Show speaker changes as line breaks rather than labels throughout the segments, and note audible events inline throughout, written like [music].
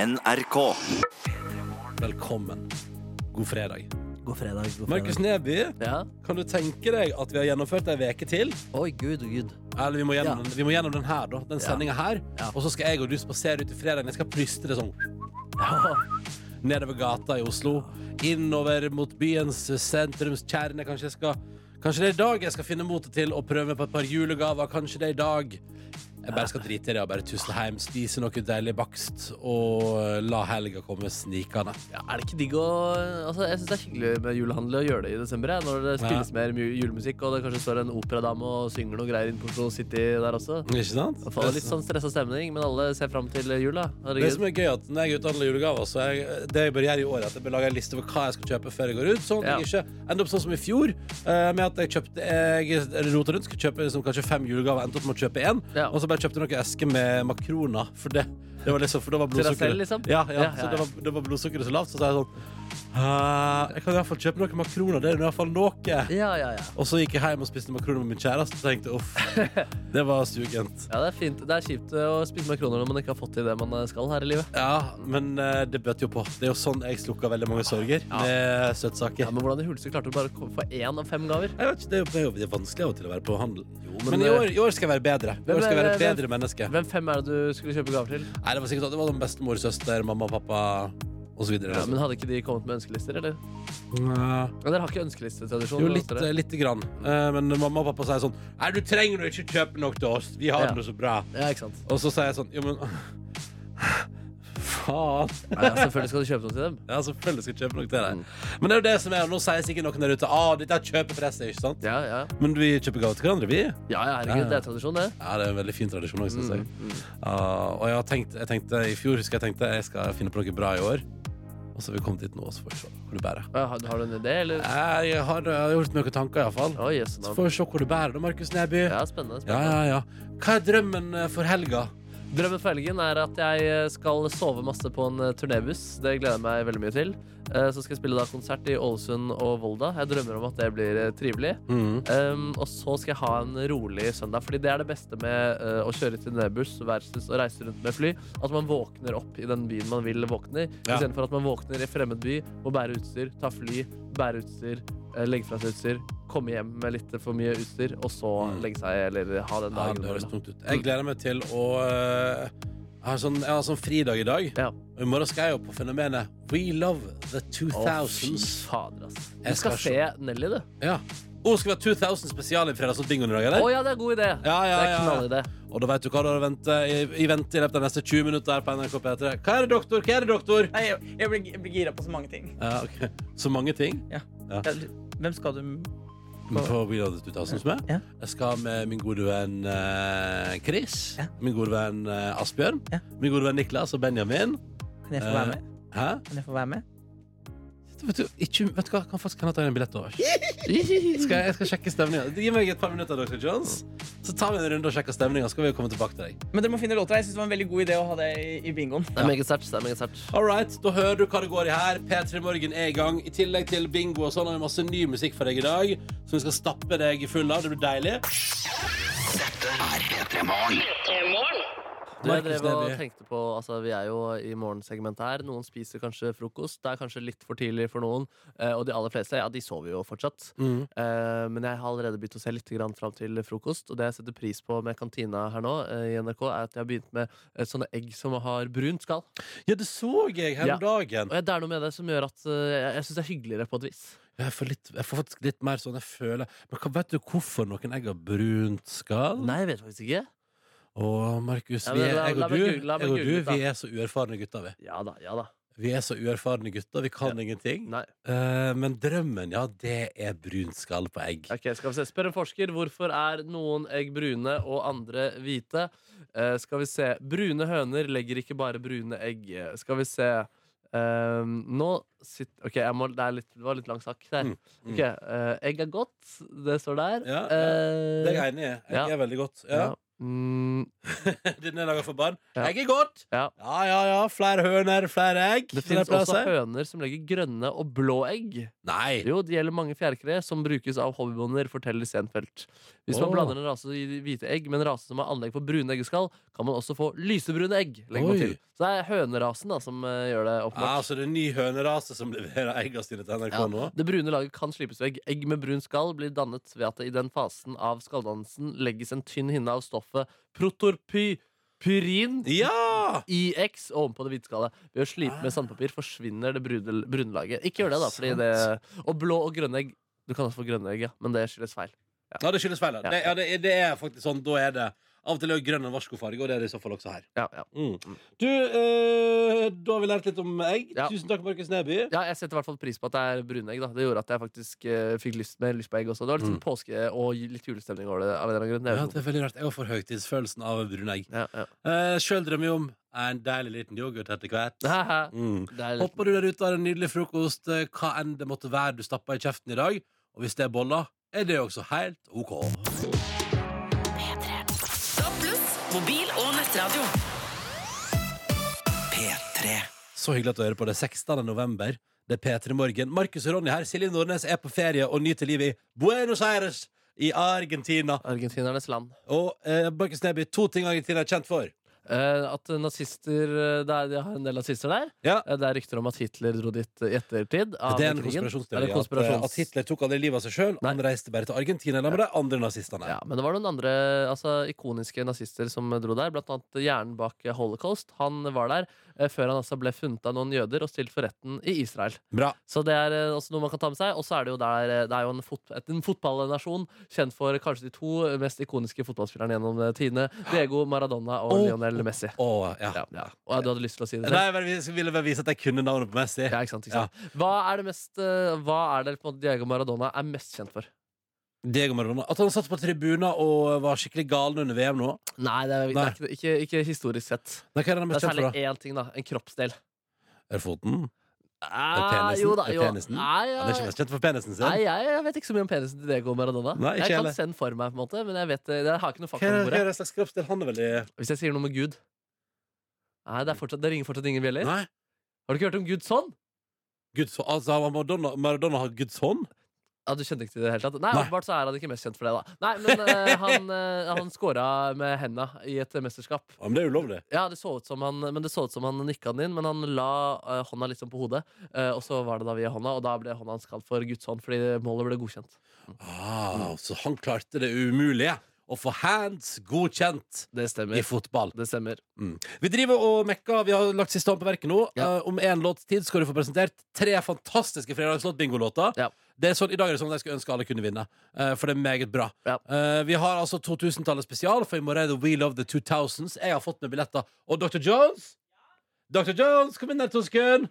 NRK.
Velkommen. God fredag.
God fredag. God fredag.
Markus Neby,
Ja.
kan du tenke deg at vi har gjennomført ei uke til?
Oi, gud, gud.
Eller vi må gjennom, vi må gjennom den her, da.
Ja.
Den sendinga her.
Ja.
Og så skal jeg og du spasere ut i fredagen. Jeg skal pryste det sånn
Ja.
nedover gata i Oslo. Innover mot byens sentrumskjerne. Kanskje jeg skal Kanskje det er i dag jeg skal finne motet til å prøve meg på et par julegaver. Kanskje det er i dag. Jeg bare skal drite i det og bare tusle hjem, spise noe deilig bakst og la helga komme snikende.
Ja, er det ikke digg å altså, Jeg syns det er hyggelig med julehandel å gjøre det i desember. Jeg, når det
Ja.
spilles mer mu- julemusikk, og det kanskje står en operadame og synger noe greier inne på Oslo City der også.
Ikke sant?
Og faen, litt sånn stressa stemning, men alle ser fram til jul, da.
Det som
Herregud.
er gøy er at Når jeg uthandler julegaver, så jeg, det jeg bør gjøre i år, er at jeg bør lage en liste over hva jeg skal kjøpe før jeg går ut. Sånn at
Ja.
jeg ikke ender opp sånn som i fjor, eh, med at jeg kjøpte Jeg rota rundt, skulle kjøpe liksom, kanskje fem julegaver, endte opp med å kjøpe én,
Ja.
og så bare kjøpte jeg noen esker med makroner. For det, det var liksom, for da var
Til deg selv,
blodsukkeret
liksom?
ja, ja,
Ja, ja,
Så det
ja.
var, det var blodsukkeret så lavt, så sa jeg sånn «Eh, Jeg kan i hvert fall kjøpe noen makroner. Det er i hvert fall noe.
Ja, ja, ja.
Og så gikk jeg hjem og spiste makroner med min kjæreste og tenkte uff,
[laughs]
det var sugent.
Ja, Det er fint. Det er kjipt å spise makroner når man ikke har fått til det man eh, skal her i livet.
Ja, men eh, det bøter jo på. Det er jo sånn jeg slukker veldig mange sorger.
Ja.
Med søtsaker.
Ja, Men hvordan i huleste klarte du bare å komme- få én av fem gaver?
Jeg vet ikke, det er jo- det er jo det er vanskelig av og til å være på handel.
men-
men eh, i år, i år skal jeg være bedre. I
Hvem
år skal jeg være et
er-
bedre menneske.
Hvem fem er det du skulle kjøpe gaver til?
Nei, det var sikkert at det var de bestemor, søster, mamma, pappa osv.
Ja, men Hadde ikke de kommet med ønskelister, eller?
Sånn
Ja, dere har ikke ønskelistetradisjon?
eh, Jo,
hos
litt,
dere.
lite grann. Eh, Men mamma og pappa sier sånn Nei, du trenger jo ikke kjøpe noe til oss. Vi har
Ja.
det så bra.
Ja, ikke sant.
Og så sier jeg sånn Jo, men Faen.
Nei, ja, selvfølgelig skal du kjøpe noe til dem.
Ja, selvfølgelig skal jeg kjøpe noe til deg. Men det er jo det som er, og nå sier sikkert noen der ute ah, dette er kjøpepresset, ikke sant?
Ja, ja.
Men vi kjøper gaver til hverandre, vi.
Ja, ja, herregud,
Ja, ja.
det er tradisjon, det.
Ja, det er en veldig fin tradisjon også, synes jeg. Ah, og jeg, har tenkt, jeg tenkte i fjor husker jeg tenkte jeg skal finne på noe bra i år. Og så har vi kommet dit nå, og så får vi se hvor det bærer.
Ja, Har, har du en idé, eller?
Jeg har, jeg har gjort meg noen tanker, iallfall.
Oi, jøss,
Så
navn.
får vi se hvor det bærer, da, Markus Neby.
Ja,
Ja,
spennende. spennende.
ja, ja. Hva er drømmen eh, for helga?
Drømmen for helgen er at jeg eh, skal sove masse på en eh, turnébuss. Det gleder jeg meg veldig mye til. Eh, Så skal jeg spille da konsert i Ålesund og Volda. Jeg drømmer om at det blir eh, trivelig.
Mm.
Um, og så skal jeg ha en rolig søndag, Fordi det er det beste med eh, å kjøre til nedbuss versus å reise rundt med fly. At man våkner opp i den byen man vil våkne i.
Ja.
Istedenfor at man våkner i fremmed by, må bære utstyr, ta fly, bære utstyr, eh, legge fra seg utstyr, komme hjem med litt for mye utstyr, og så
Mm.
legge seg eller ha
Ja,
den dagen.
det
man vil
høres
ha.
tungt ut. Jeg gleder meg til å eh, jeg har, sånn, jeg har sånn fridag i dag.
Ja.
Og i morgen skal jeg jo på fenomenet We love the
Å,
2000s.
fy fader, ass. Du
Jeg
skal,
skal
se Nelly, du.
ja. Og skal vi ha 2000 spesial i fredags og bingoen i dag,
Å
eller?
ja, det er en god idé.
Ja, ja,
det
ja,
er
ja.
knallidé.
Og da vet du hva du har ventet i, i vente i løpet av de neste 20 minutter her på NRK P3. Hva er det, doktor? Hva er det, doktor?
Nei, jeg, jeg blir, jeg blir gira på så mange ting.
Ja, ok. Så mange ting
Jeg, hvem skal du
på We Love the 2000s med.
Ja.
Jeg skal med min gode venn eh, Chris.
Ja.
Min gode venn eh, Asbjørn.
Ja.
Min gode venn Niklas og Benjamin.
Kan jeg få være med?
Hæ?
Kan jeg få være med?
Vet du, ikke, vet du hva? Kan faktisk kan jeg ta en billett over? Skal jeg, jeg skal sjekke stemninga. Gi meg et par minutter, Dr. Jones. Så tar vi en runde og sjekker stemninga, så skal vi komme tilbake til deg.
Men dere må finne låter. Jeg synes det var en veldig god idé å ha det i, i bingoen.
Det er meget sterkt. det er meget sterkt.
All right, Da hører du hva det går i her. P3 Morgen er i gang. I tillegg til bingo og sånn har vi masse ny musikk for deg i dag. Som vi skal stappe deg full av. Det blir deilig.
Du, jeg
Markus
drev og
Neby.
tenkte på, altså Vi er jo i morgensegmentet her. Noen spiser kanskje frokost. Det er kanskje litt for tidlig for noen. eh, Og de aller fleste ja, de sover jo fortsatt.
Mm.
Eh, Men jeg har allerede begynt å se litt grann fram til frokost. Og det jeg setter pris på med kantina her nå, eh, i NRK, er at jeg har begynt med eh, sånne egg som har brunt skall.
Ja, det så jeg her om
Ja.
dagen.
Og jeg- det er noe med det som gjør at eh, jeg, jeg syns det er hyggeligere på et vis.
Jeg får, litt, jeg får faktisk litt mer sånn jeg føler Men hva, vet du hvorfor noen egg har brunt skall?
Nei, jeg vet faktisk ikke.
Å, Markus,
Ja,
vi
men
er,
la-
jeg
la
og
meg
du,
google, la meg
jeg og du
google,
vi er så uerfarne gutter, vi.
Ja da, ja da.
Vi er så uerfarne gutter. Vi kan ingenting.
Nei.
Eh, men drømmen, ja, det er brunt skall på egg.
Ok, skal vi se. Spør en forsker hvorfor er noen egg brune og andre hvite. Eh, skal vi se. Brune høner legger ikke bare brune egg. Eh, Skal vi se. Eh, nå sitt, Ok, jeg må, det, er litt, det var litt lang sak der.
Mm, mm.
Ok, eh, Egg er godt. Det står der.
Ja, ja.
Eh,
Det er jeg enig i. Egg
Ja.
er veldig godt. Ja.
ja. Mm,
[laughs] Denne er laga for barn.
Ja.
Egg er godt!
Ja.
ja, ja. ja. Flere høner, flere egg.
det
som de
fins
pleier å
også
si.
høner som legger grønne og blå egg.
Nei.
Jo, det gjelder mange fjærkre som brukes av hobbybonder, forteller Senfelt. Hvis man
Åh.
blander en rase i hvite egg med en rase som har anlegg for brune eggeskall, kan man også få lysebrune egg. legger man
Oi.
til. Så det er hønerasen da, som eh, gjør det
Ja,
åpenbart.
så Ah, altså, det er en ny hønerase som leverer eggene sine til NRK
Ja,
nå?
Det brune laget kan slipes vegg. Egg med brun skall blir dannet ved at det i den fasen av skalldannelsen legges en tynn hinne av stoffet protorpyrin
Ja!
IX ovenpå det hvite skallet. Ved å slipe
Ah.
med sandpapir forsvinner det brune, brune laget. Ikke gjør det, da. Fordi det, og blå og grønne egg. Du kan også få grønne egg, ja, men det skyldes feil.
Ja, det skyldes feil. da.
Ja.
Det, ja, det, er- det er faktisk sånn. Da er det av og til er grønn en varskofarge, og det er det i så fall også her. Mm.
Ja, ja.
Du, eh, da har vi lært litt om egg.
Mm. Ja.
Tusen takk, Markus Neby.
Ja, jeg setter i hvert fall pris på at det er brune egg. Da. Det gjorde at jeg faktisk eh, fikk lyst, mer lyst på egg også. Det var litt sånn påske og ju- litt julestemning over det. Av en eller annen grunn.
Ja,
Det
det er veldig rart. Jeg får høytidsfølelsen av brune egg.
er jo- ja, [laughs] ja.
Eh, Sjøl drømmer jeg om en deilig liten yoghurt etter hvert.
Haha.
Mm.
Det er litt,
Hopper du der ute av en nydelig frokost, eh, hva enn det måtte være du stapper i kjeften i dag, og hvis det er boller, er det også helt OK.
pluss mobil og nettradio.
Så hyggelig at du hører på det 16. november. Det er P3 Morgen. Markus og Ronny her. Silje Nordnes er på ferie og nyter livet i Buenos Aires i Argentina.
Argentinernes land.
Og eh, Markus Neby, to ting Argentina er kjent for.
Eh, at nazister eh, det er, De har en del nazister der.
Ja.
Eh, det er rykter om at Hitler dro dit i ettertid. Av
Det er en
krigen.
konspirasjonsteori.
Er det
At, eh,
konspirasjons-
at Hitler tok aldri livet av seg sjøl. Han reiste bare til Argentina sammen med de andre nazistene.
Ja, men det var noen andre altså, ikoniske nazister som dro der, blant annet hjernen bak Holocaust. Han var der eh, før han altså ble funnet av noen jøder og stilt for retten i Israel.
Bra.
Så det er eh, også noe man kan ta med seg. Og så er det jo der eh, Det er jo en, fot et- en fotballnasjon kjent for kanskje de to mest ikoniske fotballspillerne gjennom eh, tidene. Diego Maradona og
Å,
Lionel Messi.
Å, ja.
Ja, ja. Og eh, du hadde lyst til å si det
Nei,
selv?
jeg bare- jeg ville bare vise at jeg kunne navnet på Messi.
Ja, ikke sant, ikke sant. Hva er det mest eh, Hva er det på en måte Diego Maradona er mest kjent for?
Diego Maradona. At han satt på tribunen og var skikkelig galen under VM nå.
Nei, det er, det
Nei.
er ikke, ikke, ikke historisk sett.
Nei, hva er det han er
Det
mest
er
kjent for,
særlig
da?
én ting, da. En kroppsdel.
Er det foten?
Ah,
penisen?
jo da,
Er
jo.
penisen?
Nei, ja.
Han er ikke mest kjent for penisen sin.
Nei, jeg, jeg vet ikke så mye om penisen til Diego Maradona.
Nei, ikke
jeg kan
heller.
se den for meg, på en måte men jeg, vet, eh, jeg har ikke noe fakta
Hva
på
er, hva
bordet.
er det slags kroppsdel han er veldig
Hvis jeg sier noe med Gud Nei, det, er fortsatt, det ringer fortsatt ingen bjeller.
Nei?
Har du ikke hørt om Gud sånn?
Guds, altså, Maradona, Maradona har Guds hånd?
Ja, du kjente ikke til det i det hele tatt? Nei,
Nei.
åpenbart så er han ikke mest kjent for det, da. Nei, men [laughs] eh, han, uh, han scora med henda i et mesterskap.
Ja, men det er ulovlig.
Ja, det så ut som han, men det så ut som han nikka den inn, men han la eh, hånda liksom på hodet. eh, og så var det da via hånda, og da ble hånda hans kalt for Guds hånd, fordi målet ble godkjent.
Ah, så han klarte det umulige. Å få hands godkjent
Det
i
stemmer.
fotball.
Det stemmer.
Vi driver og mekker. Vi har lagt siste hånd på verket nå.
Ja.
Eh, om én låts tid skal du få presentert tre fantastiske fredagslåt-bingolåter.
Ja.
Det er sånn, I dag er det sånn at jeg skulle ønske alle kunne vinne, eh, for det er meget bra.
Ja.
Eh, vi har altså 2000-tallet spesial, for i morgen er det We Love the 2000s. Jeg har fått med billetter. Og Dr. Jones? Dr. Jones, kom inn her to sekunder.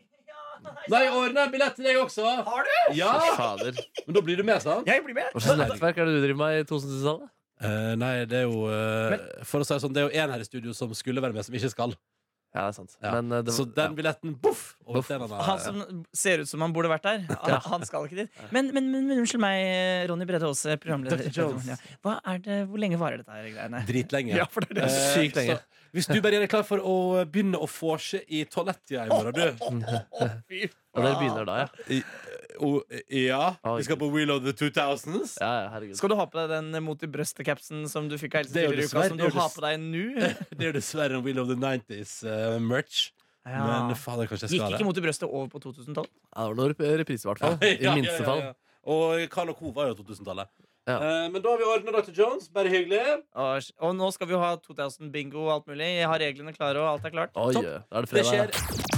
Nei, jeg ordner en billett til deg også.
Har du?
Ja!
Fy [laughs] Fader.
Men da blir du med, sant?
Jeg blir med.
Hva slags nettverk er det du driver med i 2000-tallet?
Eh, nei, det er jo eh, For å si det sånn, det er jo én her i studio som skulle være med, som ikke skal.
Ja, det er sant.
Ja.
Men, eh, det,
Så den billetten, boff! over
Boff.
stenen her.
Han som ser ut som han burde vært der, han, han skal ikke dit. Men, men, men, men unnskyld meg, Ronny Brede Aase, programleder.
Dr. Jones.
Ja. Hva er det, hvor lenge varer dette her greiene?
Dritlenge.
Ja, for det er det.
Eh,
Sykt lenge.
så Hvis du bare gjør deg klar for å begynne å forse i toalettida i morgen, du.
Eh,
ja, dere begynner da, ja.
Og, ja,
Oi.
vi skal på Wheel of the 2000s.
ja, ja herregud.
Skal du ha på deg den mot i brøstet-capsen som du fikk av Else
Det er jo
tidligere i uka,
dessverre-
som
det
du
er jo
har
dess-
på deg nå?
[laughs] Det er jo dessverre en Wheel of the 90s-merch.
Ja.
Men fader, kanskje jeg
Gikk
skal
ikke mot i brøstet over på 2012?
Ja, det var noen rep- repriser, i
[laughs]
hvert fall. I
Ja,
minste
ja,
fall.
ja, ja. Og Carl og Co. var jo 2000-tallet.
Ja.
Eh, men da har vi ordna Dr. Jones. Bare hyggelig.
Og, og nå skal vi jo ha 2000-bingo og alt mulig. Jeg har reglene klare, og alt er klart.
Oi,
Topp.
ja. da er det
Det
fredag.
skjer.
ja.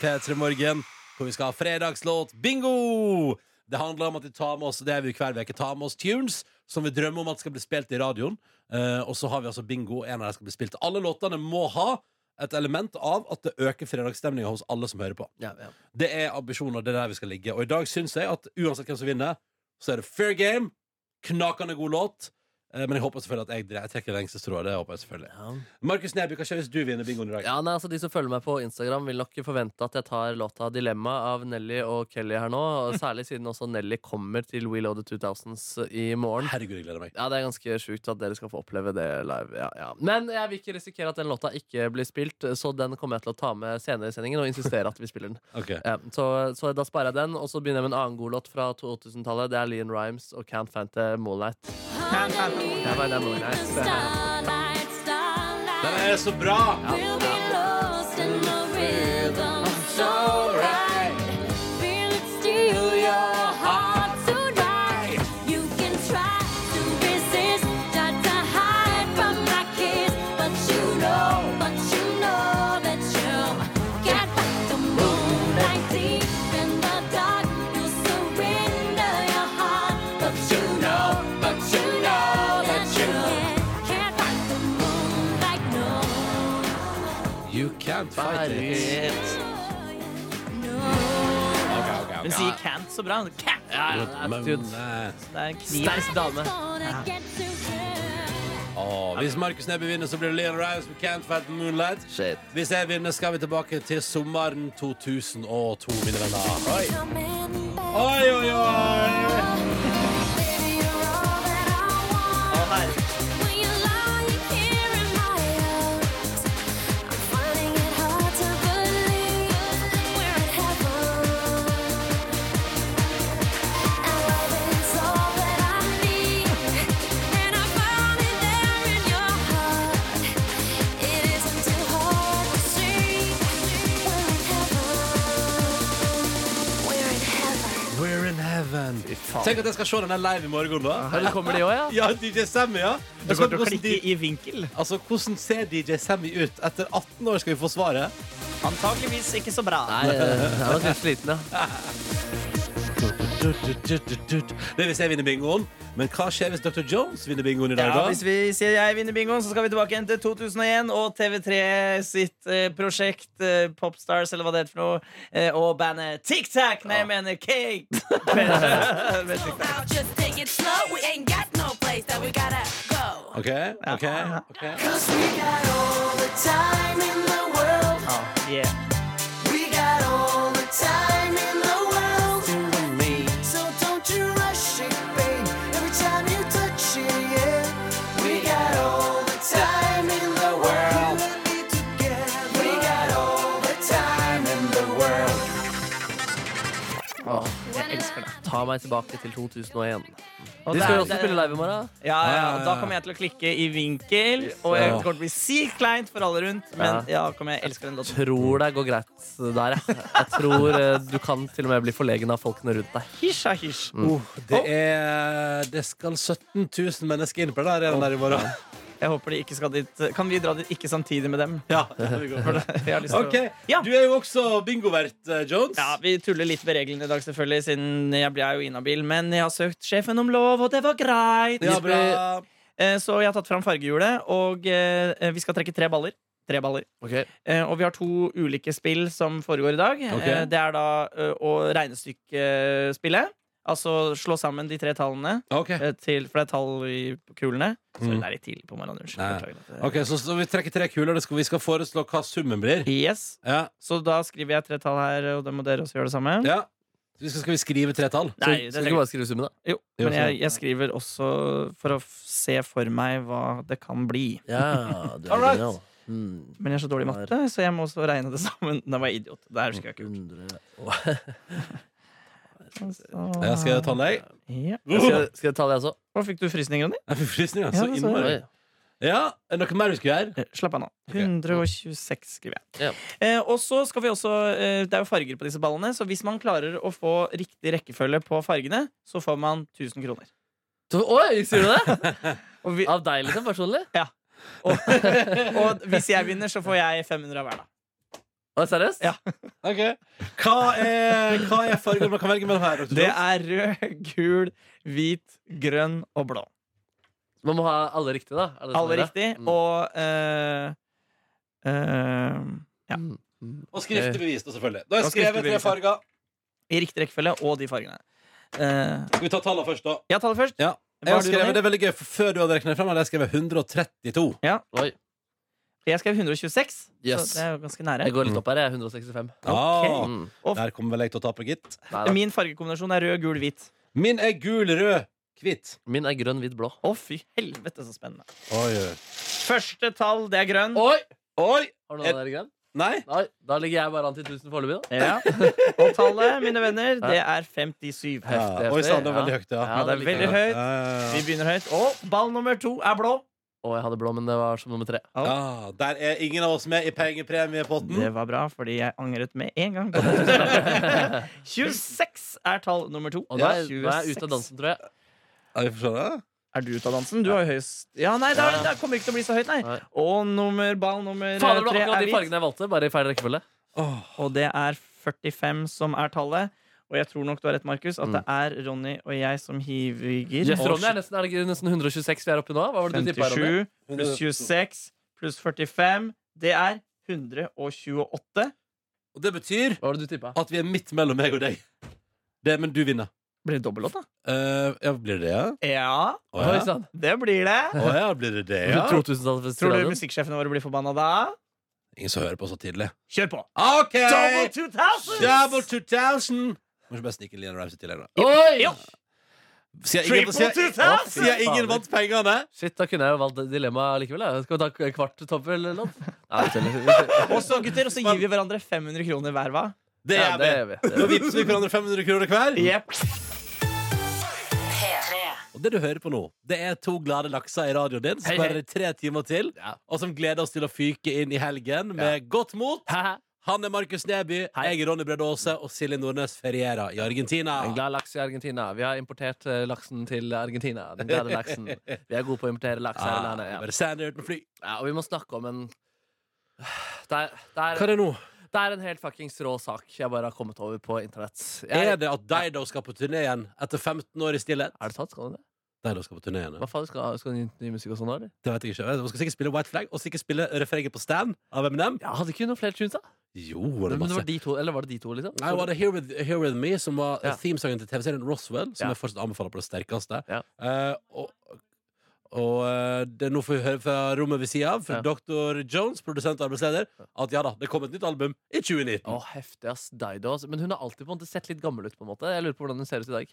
P3 Morgen, hvor vi skal ha fredagslåt bingo! Det handler om at vi tar med oss det er vi jo hver veke, tar med oss tunes som vi drømmer om at skal bli spilt i radioen. Eh, og så har vi altså bingo. En av dem skal bli spilt. Alle låtene må ha et element av at det øker fredagsstemninga hos alle som hører på.
Ja, ja.
Det er ambisjoner. Det er der vi skal ligge. Og i dag syns jeg at uansett hvem som vinner, så er det fair game. Knakende god låt. Eh, Men jeg håper selvfølgelig at jeg, dre- jeg trekker det lengste strået. Det håper jeg selvfølgelig Markus Neby, hva skjer hvis du vinner bingoen i dag?
Ja, nei, altså De som følger meg på Instagram, vil nok forvente at jeg tar låta 'Dilemma' av Nelly og Kelly her nå. og Særlig siden også Nelly kommer til We Loaded 2000s eh, i morgen.
Herregud, jeg gleder meg.
Ja, Det er ganske sjukt at dere skal få oppleve det live. Ja, ja. Men jeg vil ikke risikere at den låta ikke blir spilt, så den kommer jeg til å ta med senere i sendingen og insistere at vi spiller den.
Ok.
Ja, så, så da sparer jeg den, og så begynner jeg med en annen god låt fra 2000-tallet. Det er Leon Rhymes og Can't Fanta Moonlight. Det var den Moonlight.
Den er så bra!
You know, but you know that you can't fight the moon like no
You can't fight it. Ok, ok,
Hun
ok.
sier can't så bra. Can't.
Men, eh,
Det er en kniv.
Sterk dame.
å, hvis Markus Neby vinner, så blir det Leon Rives med Can't Fight the Moonlight.
Shit.
Hvis jeg vinner, skal vi tilbake til sommeren 2002, mine venner. Oi, oi, oi! oi.
Å, herregud.
We're in heaven. Tenk at jeg skal se den her live i morgen, da.
Eller kommer de òg, ja?
Ja, DJ Sammy, ja.
Du
Jeg skal,
kommer til å
hvordan,
klikke
de,
i vinkel.
altså, hvordan ser DJ Sammy ut? Etter 18 år skal vi få svaret.
Antakeligvis ikke så bra.
Nei, eh, jeg var litt sliten, ja.
Det vil si jeg vinner bingoen. Men hva skjer hvis Dr. Jones vinner bingoen i dag,
Ja,
da?
hvis vi sier jeg vinner bingoen, så skal vi tilbake igjen til 2001 og TV3 sitt eh, prosjekt eh, Popstars, eller hva det heter for noe, eh, og bandet Tic Tac. Nei, jeg mener Cake. Men-
OK, OK. ok
yeah.
Ta meg tilbake til 2001.
Og
De
der-
skal jo også
der-
spille live i morgen.
Ja, ja, og da kommer jeg til å klikke i vinkel, og jeg kommer til å bli sykt kleint for alle rundt, men ja, kommer jeg elsker den låten.
Tror det går greit der, ja. Jeg tror eh, du kan til og med bli forlegen av folkene rundt deg.
Hysj, ja, hysj.
Uh, Det,
Oh.
er, det skal 17 000 mennesker inn på den arenaen der i morgen.
Jeg håper de ikke skal dit. Kan vi dra dit ikke samtidig med dem?
[laughs] Ja, vi går
[laughs]
for det.
Jeg har lyst til å-
OK.
Ja.
Du er jo også bingovert, eh, Jones.
Ja, Vi tuller litt med reglene i dag, selvfølgelig, siden jeg ble jo inhabil. Men jeg har søkt sjefen om lov, og det var greit.
Ja, bra.
Eh, Så jeg har tatt fram fargehjulet, og eh, vi skal trekke tre baller. Tre baller.
Ok.
Eh, Og vi har to ulike spill som foregår i dag.
Ok.
Eh, Det er da eh, å regnestykkespillet. Altså slå sammen de tre tallene,
OK.
eh, til, for det er tall i kulene. Sorry,
Mm.
det er litt tidlig på morgenen. Unnskyld.
Nei.
beklager dette.
Ok, så, så vi trekker tre kuler. Det skal, vi skal foreslå hva summen blir.
Yes.
Ja,
Så da skriver jeg tre tall her, og da må dere også gjøre det samme.
ja. Så vi skal, skal vi skrive tre tall?
Nei,
Så
det
skal
trenger
vi bare skrive summen, da.
Jo,
Jo,
men jeg,
sånn.
jeg skriver også for å f- se for meg hva det kan bli.
[laughs]
Ja, du
All right.
Mm,
Men jeg er så dårlig i matte, så jeg må også regne det sammen. Nei, var jeg idiot. Det her husker jeg ikke.
Mm.
100
Altså,
Ja, skal jeg ta deg?
ja.
Skal, skal jeg ta det, jeg også?
Hva fikk du frysninger, Ronny?
Jeg får frysninger.
Ja,
Så
det så jeg.
innmari.
Oi.
Ja, er det noe mer vi skulle gjøre?
Eh, Slapp av nå.
Ok.
126 skriver jeg.
Ja.
Eh, og så skal vi også eh, Det er jo farger på disse ballene, så hvis man klarer å få riktig rekkefølge på fargene, så får man 1000 kroner.
Så- Oi, sier du det?
Og,
Ah.
vi,
[laughs] Av deg, liksom? Personlig?
og, [laughs] og hvis jeg vinner, så får jeg 500 av hver, da.
Oi, seriøst?
Ja.
Ok. Hva er, hva er farger man kan velge mellom her? Dr.
Det
Jones?
er rød, gul, hvit, grønn og blå.
Man må ha alle riktige, da. Er det
Alle
sånn
riktig.
det er? Mm.
Og eh, eh, ja.
Mm.
Og skriftlig bevis, da, selvfølgelig. Da har jeg
Og skriftlig
skrevet tre
bevis,
farger.
I riktig rekkefølge og de fargene. Eh,
Skal vi ta tallene først, da?
jeg tar det først.
Ja.
Hva
Jeg har
har du,
skrevet,
Ronny?
det er veldig gøy, for Før du hadde regnet frem, hadde jeg skrevet 132.
Oi,
Jeg skrev 126,
Yes.
så det er jo ganske nære.
jeg går litt opp her. Jeg er 165.
Ah,
Mm.
Og-
der kommer vel jeg til å tape, gitt.
Nei, da.
Min fargekombinasjon er rød, gul, hvit.
Min er gul, rød, hvit.
Min er grønn, hvit, blå.
Å, fy helvete, så spennende.
Oi, oi.
Første tall, det er grønn.
Oi!
Oi!
Har du noen der grønn?
Nei!
Nei, da ligger jeg bare an til 1000 foreløpig, da.
Ja. Og tallet, mine venner, det er 57.
Ja.
Heftig,
Oi sann,
heftig,
det var veldig
ja.
høyt, ja.
Ja, det er veldig
liker jeg.
høyt.
Ja, ja,
Vi
ja.
begynner høyt. Og ball nummer to er blå.
Å, jeg hadde blå, men det var som nummer tre.
Ja, der er ingen av oss med i pengepremiepotten.
Det
Mm.
var bra, fordi jeg angret med en gang.
[laughs]
26 er tall nummer to.
Og nå er, nå er jeg ute av dansen, tror jeg.
Ja, vi får se det.
Er du ute av dansen? Du har jo høyest Ja, nei, da, da kommer det ikke til å bli så høyt, nei.
Nei.
Og nummer, ball nummer
Fader, det var
tre
akkurat
er
de
hvit.
fargene jeg valgte, bare i feil rekkefølge.
Og det er 45 som er tallet. Og jeg tror nok du har rett, Markus, at det er Ronny og jeg som hiviger.
Jeff
Og
Mm. Ronny er nesten, er det ikke nesten 126 vi er oppe i nå? Hva var det du tippa, Ronny?
57 pluss 26 pluss 45, det er 128.
Og det betyr
Hva var det du tippet?
at vi er midt mellom meg og deg. Det, men du vinner.
Blir det dobbeltlåt, da?
Eh, ja, blir det det, ja?
Ja,
Å
Oi sånn.
ja.
sann.
det blir det.
Å ja, blir det det, ja?
2000-tallet
Tror du
festivalradioen.
musikksjefene våre blir forbanna da?
Ingen som hører på så tidlig.
Kjør på!
OK!
Double 2000!
Double 2000! Må ikke bare snike Lian Ramsey til her, da.
Oi!
Sier
Triple
ingen, sier,
2000!
sier ingen vant pengene?
Shit, da kunne jeg jo valgt dilemmaet likevel. jeg. Skal vi ta kvart [laughs] toppel-låt? Nei, vi teller.
Og så gutter, og så gir vi hverandre 500 kroner hver, hva?
Det
Ja,
gjør
det
vi.
gjør vi. Det gjør
Nå
vi.
vippser vi hverandre 500 kroner hver.
Jepp.
Og det du hører på nå, det er to glade lakser i radioen din som
Hei,
bare
hei.
er tre timer til,
Ja.
og som gleder oss til å fyke inn i helgen med godt mot.
Haha.
Han er Markus Neby, jeg er Ronny Brede Aase, og Silje Nordnes ferierer i Argentina.
En glad laks i Argentina. Vi har importert eh, laksen til Argentina. Den glade laksen. Vi er gode på å importere laks her i
Ah,
landet. Ja.
bare send det ut med fly.
Ja, og vi må snakke om en det er, det,
Hva
er,
er det nå?
det er en helt fuckings rå sak jeg bare har kommet over på internett. Jeg,
Er det at Dido skal på turné igjen etter 15 år i stillhet?
er det sant? Skal den det?
Dido skal på turné igjen, ja.
Hva faen skal, skal den gi ny musikk og sånn? eller?
Det vet jeg ikke. Hun skal sikkert spille White Flag, og sikkert spille refrenget på Stan av Eminem.
Ja, hadde ikke hun noen flere tunes, da?
Jo, det er
Men det
masse.
var de to, eller var det de to, liksom?
Nei, var det Here With, Here With Me, som var
Ja.
themesangen til TV-serien Roswell, som
Ja.
jeg fortsatt anbefaler på det sterkeste.
Ja.
Eh, og og eh, det er noe vi hører fra rommet ved siden av, fra
Ja.
Dr. Jones, produsent og arbeidsleder, at ja da, det kom et nytt album i 2019.
Å, heftig, ass. Dido. ass. Men hun har alltid på en måte sett litt gammel ut. på en måte Jeg lurer på hvordan hun ser ut i dag.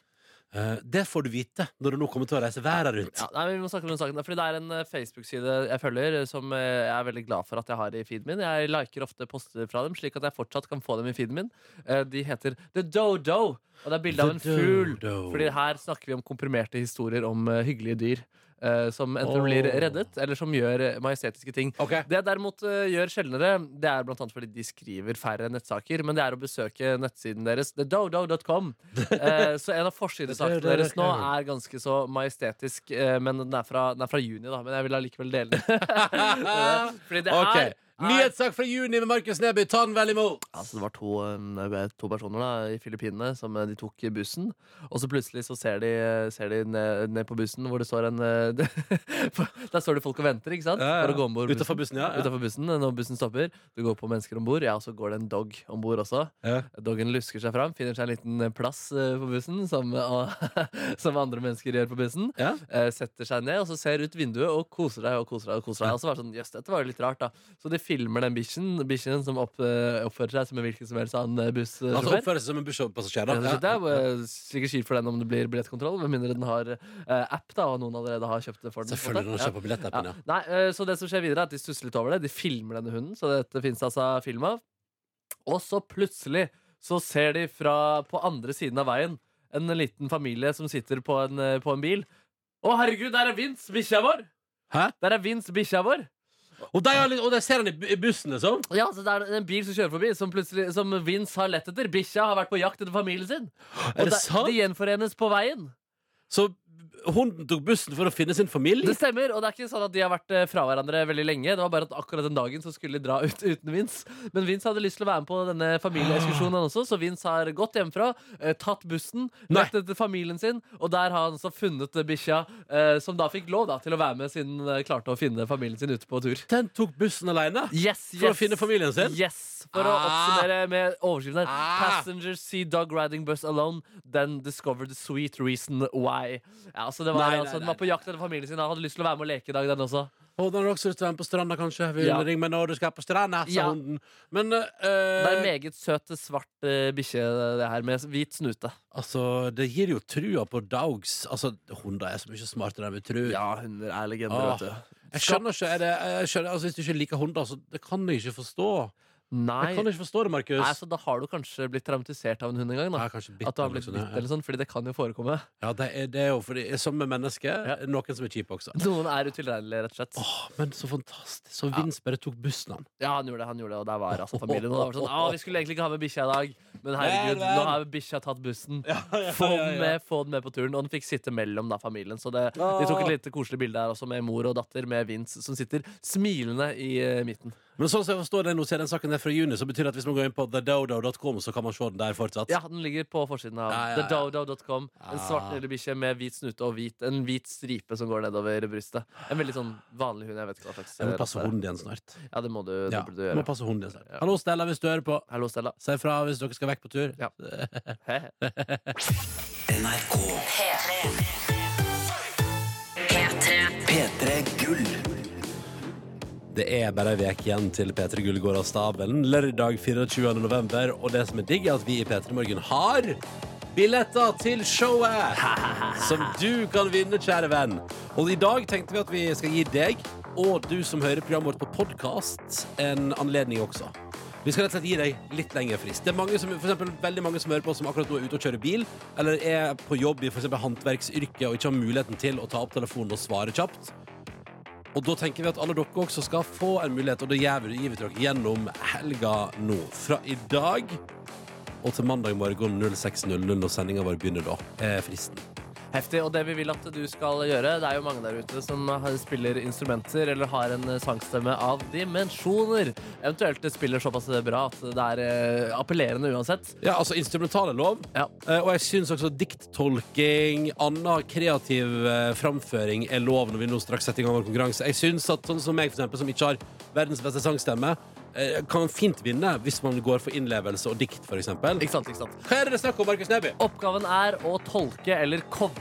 Eh, det får du vite når du nå kommer til å reise verden rundt.
Ja, nei, men vi må snakke om den saken der, Fordi Det er en eh, Facebook-side jeg følger, eh, som eh, jeg er veldig glad for at jeg har i feeden min. Jeg liker ofte poster fra dem, slik at jeg fortsatt kan få dem i feeden min. Eh, De heter The Dodo, og det er bilde av
The
en fugl.
Dodo.
Fordi her snakker vi om komprimerte historier om eh, hyggelige dyr. eh, Som enten
Åh.
blir reddet, eller som gjør eh, majestetiske ting.
Ok.
[laughs] Det jeg derimot eh, gjør sjeldnere, det er blant annet fordi de skriver færre nettsaker, men det er å besøke nettsiden deres, thedodo.com. Eh, så en av forsidesakene deres nå er ganske så majestetisk, eh, men den er, fra, den er fra juni, da. Men jeg vil allikevel dele den. Eh, fordi det
Ok.
er, er
Nyhetssak fra juni med Markus Neby. Ta den vel imot!
Altså, det var to, eh, to personer da, i Filippinene som eh, de tok bussen. Og så plutselig så ser de, eh, ser de ned, ned på bussen hvor det står en eh, [laughs] Der står det folk og venter, ikke sant?
Ja, ja.
For å gå ombord
Utenfor bussen, ja, ja.
Utenfor bussen, eh, når bussen stopper. Det går på mennesker om bord, ja, og så går det en dog om bord også.
Ja.
Doggen lusker seg fram, finner seg en liten eh, plass eh, på bussen, som, eh, [laughs] som andre mennesker gjør på bussen.
Ja.
Eh, Setter seg ned og så ser ut vinduet og koser deg og koser deg. og koser deg Og så var det sånn, jøss, dette var jo litt rart da Så de filmer den bikkjen bikkjen som opp, eh, oppfører seg som en hvilken som helst annen eh,
Altså
bussjåfør.
oppføre seg som en bussjåfør.
Ja, så Det er jo eh, sikkert kjipt for den om det blir billettkontroll, med mindre den har eh, app, da og noen allerede har kjøpt det for den. på en måte.
Selvfølgelig når du
Ja.
kjøper billettappen, ja.
Ja. Nei, eh, så det som skjer videre er at De stusser litt over det. De filmer denne hunden, så dette finnes altså film av. Og så plutselig så ser de fra på andre siden av veien en liten familie som sitter på en, eh, på en bil. Å, herregud, der er Vince, bikkja vår!
Hæ?
Der er Vince, bikkja vår!
Og der, er litt- og der ser han i bu- i bussen, liksom.
Ja, så det er en bil som kjører forbi, som, plutselig- som Vince har lett etter. Bikkja har vært på jakt etter familien sin.
Er det
der-
sant?
De gjenforenes på veien.
Så hunden tok bussen for å finne sin familie?
Det stemmer, og det er ikke sånn at de har vært eh, fra hverandre veldig lenge. Det var bare at akkurat den dagen så skulle de dra ut uten Vince. Men Vince hadde lyst til å være med på denne familieekskursjonen også, så Vince har gått hjemmefra, eh, tatt bussen,
Nei.
lett etter familien sin, og der har han så funnet eh, bikkja, eh, som da fikk lov da, til å være med siden den klarte å finne familien sin ute på tur.
Den tok bussen alene?
Yes,
For å
yes.
finne familien sin?
Yes, For å
Ah.
oppsummere med overskriften her.
Ah.
Passengers see dog riding bus alone, then discover the sweet reason why. Ja, altså det var,
Nei, nei,
altså, den
nei.
var på jakt etter familien sin. Han hadde lyst til å være med og leke i dag, den også.
Og den har også lyst til å være med på stranda, kanskje. Vil
Ja.
ringe meg når du skal på stranda, sa
Ja.
hunden. Men eh,
Det er en meget søt, svart eh, bikkje, det her, med hvit snute.
altså, det gir jo trua på dogs. Altså, hunder er så mye smartere enn vi tror.
Ja, hunder er legender,
Åh.
vet du.
Jeg skjønner ikke, er det, jeg skjønner, altså, Hvis du ikke liker hunder, så det kan jeg ikke forstå.
Nei,
Jeg kan ikke forstå det, Markus.
nei, så da har du kanskje blitt traumatisert av en hund en gang, da.
Jeg har kanskje bitt
At du har
eller
blitt
noe
bitt
sånt, ja.
eller sånn, fordi det kan jo forekomme.
Ja, det er, det er jo fordi Som med mennesker,
Ja.
noen som er kjipe også.
Noen er utilregnelige, rett og slett.
Åh, men så fantastisk. Så Vince bare tok bussen,
[laughs]
han.
Ja, han gjorde det, han gjorde det, og der var altså familien. Og det var sånn, «Å, vi skulle egentlig ikke ha med bikkja i dag, men
Vel,
herregud,
vel.
nå har bikkja tatt bussen. Få den med, få den med på turen. Og den fikk sitte mellom da, familien. Så det, de tok et lite koselig bilde her også med mor og datter med Vince som sitter smilende i eh, midten.
Men sånn som jeg forstår det nå, så er den saken der fra juni, så betyr det at hvis man går inn på thedodo.com, så kan man se den der fortsatt.
Ja, den ligger på forsiden
Ja, ja,
av
Ah. ja.
thedodo.com. En
Ja.
svart lille bikkje med hvit snute og hvit, en hvit stripe som går nedover brystet. En veldig sånn vanlig hund. Jeg vet ikke hva slags
Jeg må
eh,
passe
rase det er.
hunden igjen snart.
Ja, det må du, det
Ja,
burde du
jeg må
gjøre.
passe hunden igjen snart.
Ja.
Hallo, Stella, hvis du hører på.
Hallo, Stella.
Si ifra hvis dere skal vekk på tur.
Ja. Hei.
Det er bare ei uke igjen til P3 Gull går av stabelen, lørdag 24. november. Og det som er digg, er at vi i P3 Morgen har billetter til showet! Som du kan vinne, kjære venn. Og i dag tenkte vi at vi skal gi deg, og du som hører programmet vårt på podkast, en anledning også. Vi skal rett og slett gi deg litt lengre frist. Det er mange som, for eksempel, veldig mange som hører på som akkurat nå er ute og kjører bil, eller er på jobb i for eksempel håndverksyrket og ikke har muligheten til å ta opp telefonen og svare kjapt. Og da tenker vi at alle dere også skal få en mulighet, og det gjør vi gir vi til dere gjennom helga nå. Fra i dag og til mandag morgen 06.00, når sendinga vår begynner da, er fristen.
Heftig. Og det vi vil at du skal gjøre Det er jo mange der ute som har- spiller instrumenter eller har en eh, sangstemme av dimensjoner. Eventuelt spiller såpass bra at det er eh, appellerende uansett.
Ja, altså instrumental er lov.
Ja.
Eh, Og jeg syns også dikttolking, annen kreativ eh, framføring er lov når vi nå straks setter i gang vår konkurranse. Jeg syns at sånn som meg, for eksempel, som ikke har verdens beste sangstemme, eh, kan fint vinne hvis man går for innlevelse og dikt, for eksempel.
Ikke sant, ikke sant?
Hva er det det er snakk om, Markus Neby?
Oppgaven er å tolke eller covre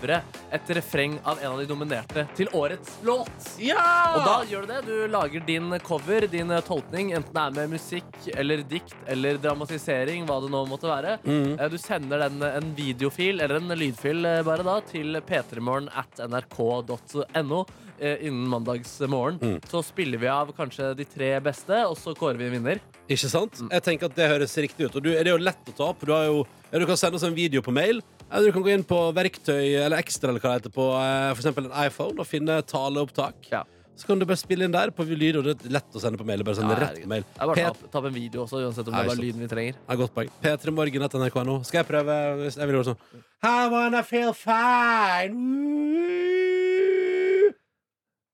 et refreng av en av de nominerte til årets låt. Og da gjør du det. Du lager din cover, din eh, tolkning, enten det er med musikk eller dikt eller dramatisering, hva det nå måtte være. Eh, Du sender den eh, en videofil eller en lydfil eh, bare da til p3morgen at nrk.no eh, innen mandagsmorgen. Så spiller vi av kanskje de tre beste, og så kårer vi en vinner.
Ikke sant?
Mm.
Jeg tenker at Det høres riktig ut. Og du, det er jo lett å ta opp. Du, har jo, ja, du kan sende oss en video på mail. Eller du kan gå inn på verktøy eller ekstra eller hva det heter på eh, for eksempel en iPhone og finne taleopptak.
Ja.
Så kan du bare spille inn der på lyd, og det er lett å sende på mail. Bare sende
Ja,
rett på mail.
Det er bare å
P-
ta opp- ta opp en video også, uansett om
Nei,
det er
sant.
bare lyden vi trenger.
Ja, godt poeng. P3morgen.nrk.no. Skal jeg prøve? Jeg vil gjøre sånn I wanna feel fine. Mm.
Mm.
Woo!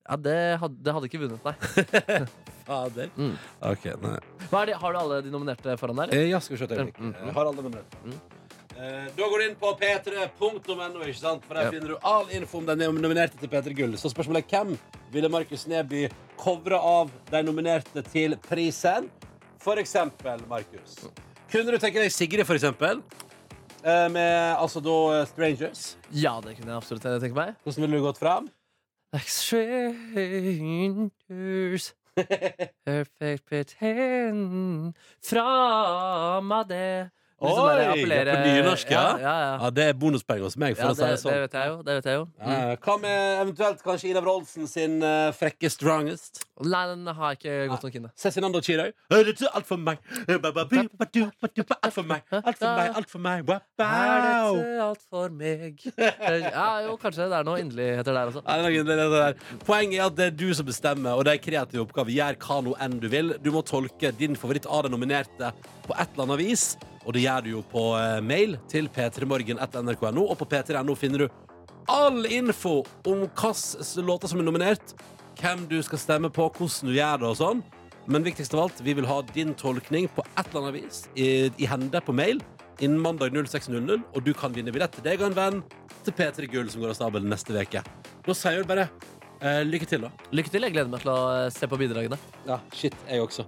Ja, det hadde, det hadde ikke vunnet, nei. [laughs]
Fader.
Mm.
Ah, OK, nei.
Hva er de, har du alle de nominerte foran der?
Eh, Ja, skal vi se et øyeblikk.
Mm, mm,
Eh, Har alle numrene. Eh, Da går du inn på p3.no, ikke sant? for der
Ja.
finner du all info om den nominerte til P3 Gull. Så spørsmålet er hvem ville Markus Neby covre av de nominerte til prisen? For eksempel, Markus. Kunne du tenke deg Sigrid, for eksempel? Eh, Med altså da eh, Strangers.
Ja, det kunne jeg absolutt tenke meg.
Hvordan ville du gått fram? [laughs]
Like strangers Perfect pretend Fra meg det
Oi, det er på nynorsk, ja.
ja, ja, ja.
Ja, Det er bonuspoeng hos meg. for
Ja,
å si
det,
det
det
sånn.
vet jeg jo, det vet jeg jo. Mm.
Eh, Hva med eventuelt kanskje Ida Wroldsen sin eh, frekke Strongest?
Nei, den har jeg ikke gått nok inn i.
Cezinando Chirøy. Er det alt for meg? Alt for meg, alt for meg, alt for meg.
Er
Wow!
dette alt for meg? Ja, jo, kanskje det er noe inderlig heter det der også
Nei, det er noe- det er det der. Poenget er at det er du som bestemmer, og det er kreative oppgaver. Gjør hva nå enn du vil. Du må tolke din favoritt av de nominerte på et eller annet vis. Og det gjør du jo på eh, mail til p3morgen.nrk.no, og på p3.no finner du all info om hvilke låter som er nominert, hvem du skal stemme på, hvordan du gjør det og sånn. Men viktigst av alt, vi vil ha din tolkning på et eller annet vis i, i hende på mail innen mandag 06.00, og du kan vinne billett til deg og en venn til P3 Gull som går av stabelen neste veke. Da sier vi bare eh, lykke til, da.
Lykke til, jeg gleder meg til å eh, se på bidragene
Ja, shit, jeg også.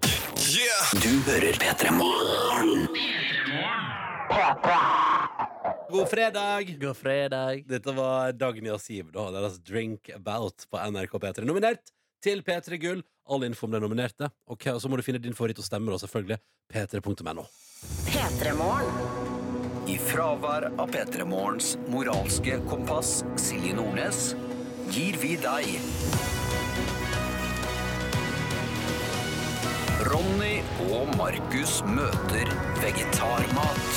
God fredag!
God fredag.
Dette var Dagny og Siv, da. Deres Drink About på NRK P3. Nominert til P3 Gull. All info om de nominerte. Og hva- så må du finne din favoritt og stemme, da, selvfølgelig. p3.no.
I fravær av P3morgens moralske kompass, Silje Nordnes, gir vi deg Ronny og Markus møter vegetarmat.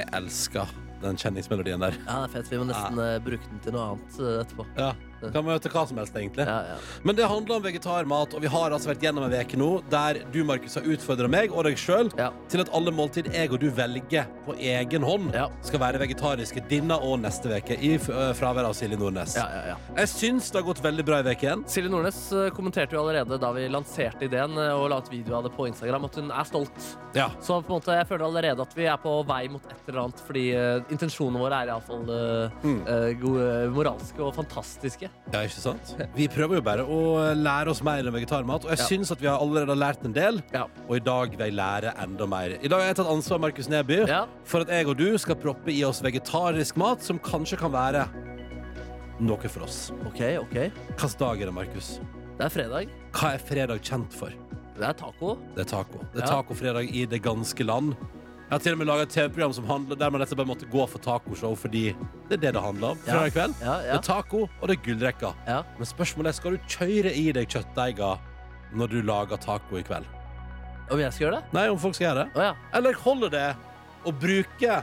Jeg elsker den kjenningsmelodien der.
Ja, det er fett. Vi må nesten eh, bruke den til noe annet eh, etterpå.
Ja, Kan møte hva som helst, egentlig.
Ja, ja.
Men det handler om vegetarmat, og vi har altså vært gjennom en veke nå der du, Markus, har utfordra meg og deg sjøl
Ja.
til at alle måltid jeg og du velger på egen hånd,
Ja.
skal være vegetariske denne og neste veke i f- øh, fravær av Silje Nordnes.
Ja, ja, ja.
Jeg syns det har gått veldig bra i veken.
Silje Nordnes eh, kommenterte jo allerede da vi lanserte ideen eh, og la ut video av det på Instagram, at hun er stolt.
Ja.
Så på en måte, jeg føler allerede at vi er på vei mot et eller annet, fordi eh, intensjonene våre er iallfall uh,
Mm.
gode, moralske og fantastiske.
Ja, ikke sant? Vi prøver jo bare å lære oss mer om vegetarmat, og jeg
Ja.
syns at vi har allerede lært en del.
Ja.
Og i dag vil jeg lære enda mer. I dag har jeg tatt ansvar Markus Neby,
Ja.
for at jeg og du skal proppe i oss vegetarisk mat som kanskje kan være noe for oss.
OK, OK.
Hvilken dag er det, Markus?
Det er fredag.
Hva er fredag kjent for?
Det er taco.
Det er taco. Det er
Ja.
tacofredag i det ganske land. Jeg har til og med laga et TV-program som handler der man rett og slett bare måtte gå for tacoshow fordi det er det det handler om. Fredag kveld.
Ja,
Det
ja.
er taco, og det er gullrekka.
Ja.
Men spørsmålet er, skal du kjøre i deg kjøttdeiga når du lager taco i kveld?
Om jeg skal gjøre det?
Nei, om folk skal gjøre det.
Å ja.
Eller holder det å bruke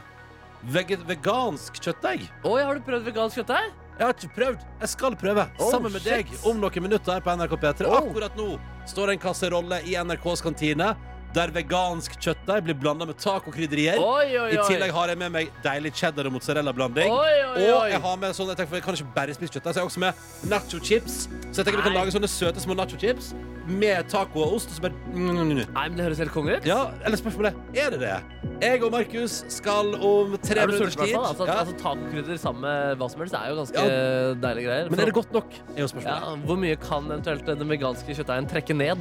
vege- vegansk kjøttdeig?
Å, ja, har du prøvd vegansk kjøttdeig?
Jeg har ikke prøvd. Jeg skal prøve.
Oh,
Sammen med
shit.
deg om noen minutter her på NRK P3.
Oh.
Akkurat nå står en kasserolle i NRKs kantine der vegansk kjøttdeig blir blanda med tacokrydderier.
Oi, oi, oi.
I tillegg har jeg med meg deilig cheddar og mozzarella-blanding.
Oi, oi, oi.
Og jeg har med sånne, jeg tenker, for jeg kan ikke bare spise kjøttdeig, så jeg har også med nacho-chips. Så jeg tenker vi kan
Nei.
lage sånne søte små nacho-chips med taco og ost. Og så bare mm, mm, mm.
Nei, men Det høres helt konge ut.
Ja, eller spørsmålet er det det? Jeg og Markus skal om tre
Er du
minutters
sulten, i
tid.
hvert fall? Altså,
Ja.
altså, Tacokrydder sammen med hva som helst det er jo ganske
Ja.
deilige greier.
Men er det
Så-
godt nok? Er jo spørsmålet.
Ja, hvor mye kan eventuelt den veganske kjøttdeigen trekke ned?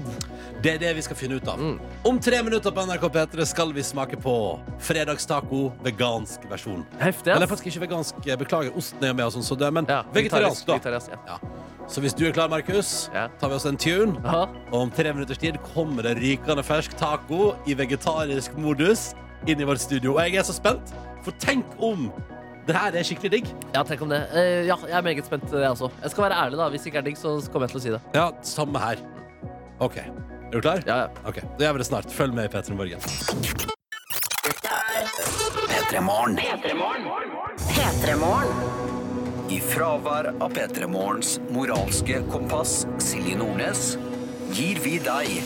Det er det vi skal finne ut av.
Mm.
Om tre minutter på NRK P3 skal vi smake på fredagstaco vegansk versjon.
Heftig,
Eller faktisk ikke vegansk, jeg beklager. Osten er jo med, og sånn, så det, men
Ja,
vegetariansk, da.
vegetarisk, ja.
Så hvis du er klar, Markus,
Ja.
tar vi oss en tune.
Aha.
Og om tre minutters tid kommer det rykende fersk taco i vegetarisk modus inn i vårt studio. Og jeg er så spent, for tenk om det her er skikkelig digg.
Ja, tenk om det. Eh, ja, jeg er meget spent, jeg også. Jeg skal være ærlig, da. Hvis det ikke er digg, så kommer jeg til å si det.
Ja, samme her. OK. Er du klar?
Ja, ja.
Ok, Da gjør vi det snart. Følg med i P3 Morgen.
P3morgen. I fravær av P3morgens moralske kompass, Silje Nordnes, gir vi deg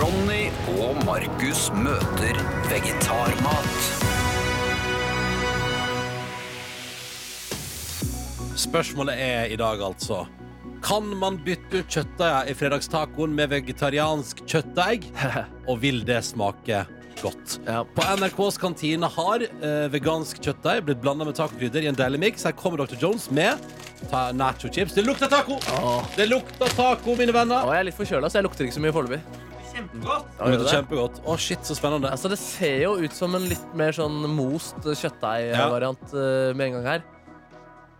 Ronny og Markus møter vegetarmat.
Spørsmålet er i dag altså Kan man bytte ut kjøttdeiga i fredagstacoen med vegetariansk kjøttdeig? Og vil det smake godt?
Ja.
På NRKs kantine har eh, vegansk kjøttdeig blitt blanda med tacokrydder i en deilig miks. Her kommer Dr. Jones med ta nacho chips. Det lukter taco! Det lukter taco, mine venner!
Og jeg er litt forkjøla, så jeg lukter ikke så mye foreløpig.
Kjempegodt.
Det lukter kjempegodt. Å, shit, så spennende.
Altså, det ser jo ut som en litt mer sånn most kjøttdeigvariant eh, med en gang her.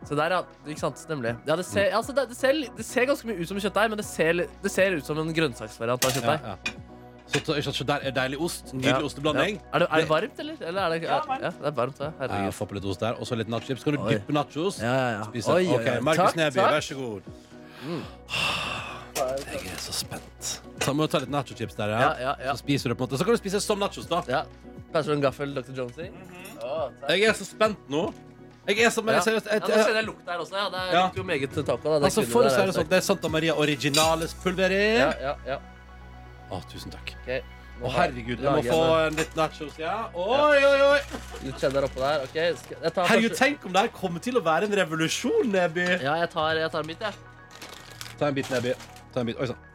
Se der, ja. Ikke sant? Nemlig. Ja, det
Mm.
ser, altså, det, det ser, litt- det ser ganske mye ut som kjøttdeig, men det ser, litt- det ser ut som en grønnsaksvariant av
Ja,
kjøttdeig.
ja. Så, ta- ikke sant, så der er deilig ost. Nydelig
Ja.
osteblanding.
Ja. Er, det, er det varmt, eller? eller er det,
Ja, varmt.
ja, det er varmt. Ja.
Ja.
Herregud.
Få på litt ost der, og så litt nachochips. Kan du
Oi.
dyppe nachos?
Ja, ja, ja.
Spise.
Oi, oi,
ok,
oi.
Markus
Takk,
Neby,
takk.
vær så god. Mm. Jeg er så spent. Ta med å ta litt nachochips der, ja.
Ja, ja, ja.
Så spiser du på en måte. Så kan du spise som nachos, da.
Ja. Passer du en gaffel, Dr. Jones? i?
Mhm.
Å, takk.
Jeg er så spent nå. Jeg er så, men
Ja.
jeg, seriøst,
ja,
jeg,
nå kjenner jeg lukt der også. Ja. Det
Ja.
lukter jo meget taco. Da. Det
altså,
kunne
for å
der
si
er
det sånn,
sterkt.
det er Santa Maria Originales pulver i.
Ja, ja, ja.
Å, tusen takk.
Ok. Nå
Å,
har-
herregud. Jeg må
lager
få
jeg
en litt nachos, ja. Oi, oi, oi.
Litt cheddar oppå der. Ok, skal, jeg tar
Herregud,
første-
tenk om det her kommer til å være en revolusjon, Neby.
Ja, jeg tar, jeg tar mitt, jeg.
Ta en bit, Neby. Ta en bit. Oi sånn. sann.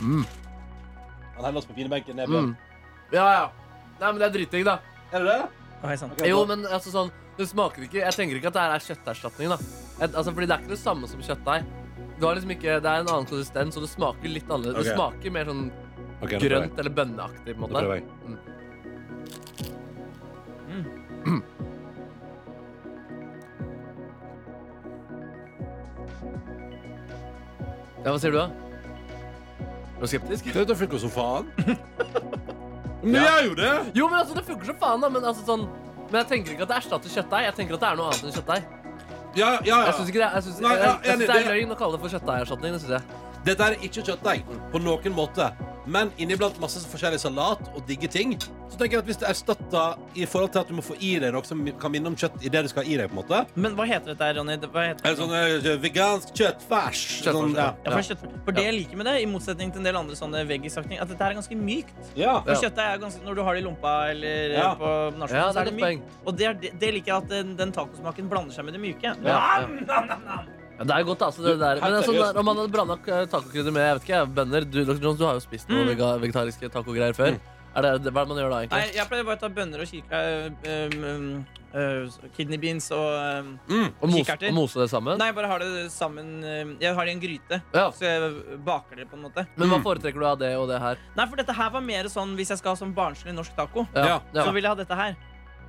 Mm. Han heller oss på pinebenken, Nebjørn.
Ja, ja. Nei, men det er dritting, da.
Er det det?
Oi, sånn.
Ok,
Jo,
bra.
men altså sånn Det smaker ikke Jeg tenker ikke at det her er kjøtterstatning, da. Et, altså, fordi det er ikke det samme som kjøttdeig. Du har liksom ikke, det er en annen konsistens, og det smaker litt annerledes.
Ok.
Det smaker mer sånn
Ok, nå prøver jeg.
grønt eller bønneaktig. på en
Nå prøver
måte
jeg.
Ja, Hva sier du, da? Er du skeptisk?
Dette funker som faen. [laughs] Men jeg er jo det!
Jo, men altså, det funker som faen, da. Men, altså, sånn, men jeg tenker ikke at det erstatter kjøttdeig. Jeg tenker at det er noe annet enn kjøttdeig.
Ja, ja,
Jeg
ja.
syns ikke det, jeg synes,
Nei,
jeg,
ja,
jeg, synes
enig,
det er
det-
løgn å kalle det for kjøttdeigerstatning. Det synes jeg.
Dette er ikke kjøttdeig på noen måte. Men inniblant masse forskjellig salat og digge ting. Så tenker jeg at Hvis det erstatter i forhold til at du må få i deg noe som kan minne om kjøtt i det du skal ha i deg på en måte
Men hva heter dette, her, Ronny? Det- Hva heter
Eller sånn eh, vegansk kjøttfæsj. Sånn,
Kjøttfærs,
ja.
Ja, for, kjøttfars. for det jeg liker med det, i motsetning til en del andre sånne veggisakning, at dette her er ganske mykt.
Ja.
For kjøttet er ganske, Når du har det i lompa eller
Ja.
på
Altså,
nachspiel,
Ja,
så
det er
er det
et
mykt. Og det, er, det- det liker jeg at den, den tacosmaken blander seg med det myke.
Ja, ja.
Nam, nam, nam, nam.
Ja, det er godt, altså. Det der. Men
helt
altså,
seriøst.
om man hadde blanda tacokrydder med jeg vet ikke, jeg, bønner du, Dr. Jones, du har jo spist noen vega- vegetariske tacogreier før. Er det, det- hva er det man gjør da,
Mm. Nei,
egentlig?
jeg pleier bare å ta bønner og eh, kiker, øhm, øhm, øh, kidney beans og um, øhm,
Mm.
Og mose,
kikerter.
og mose det sammen?
Nei, jeg bare har det sammen øhm, Jeg har det i en gryte,
Ja.
så jeg baker det på en måte.
Men hva foretrekker du av det og det her?
Nei, for dette her var mer sånn hvis jeg skal ha sånn barnslig norsk taco.
Ja.
ja.
Så vil jeg ha dette her.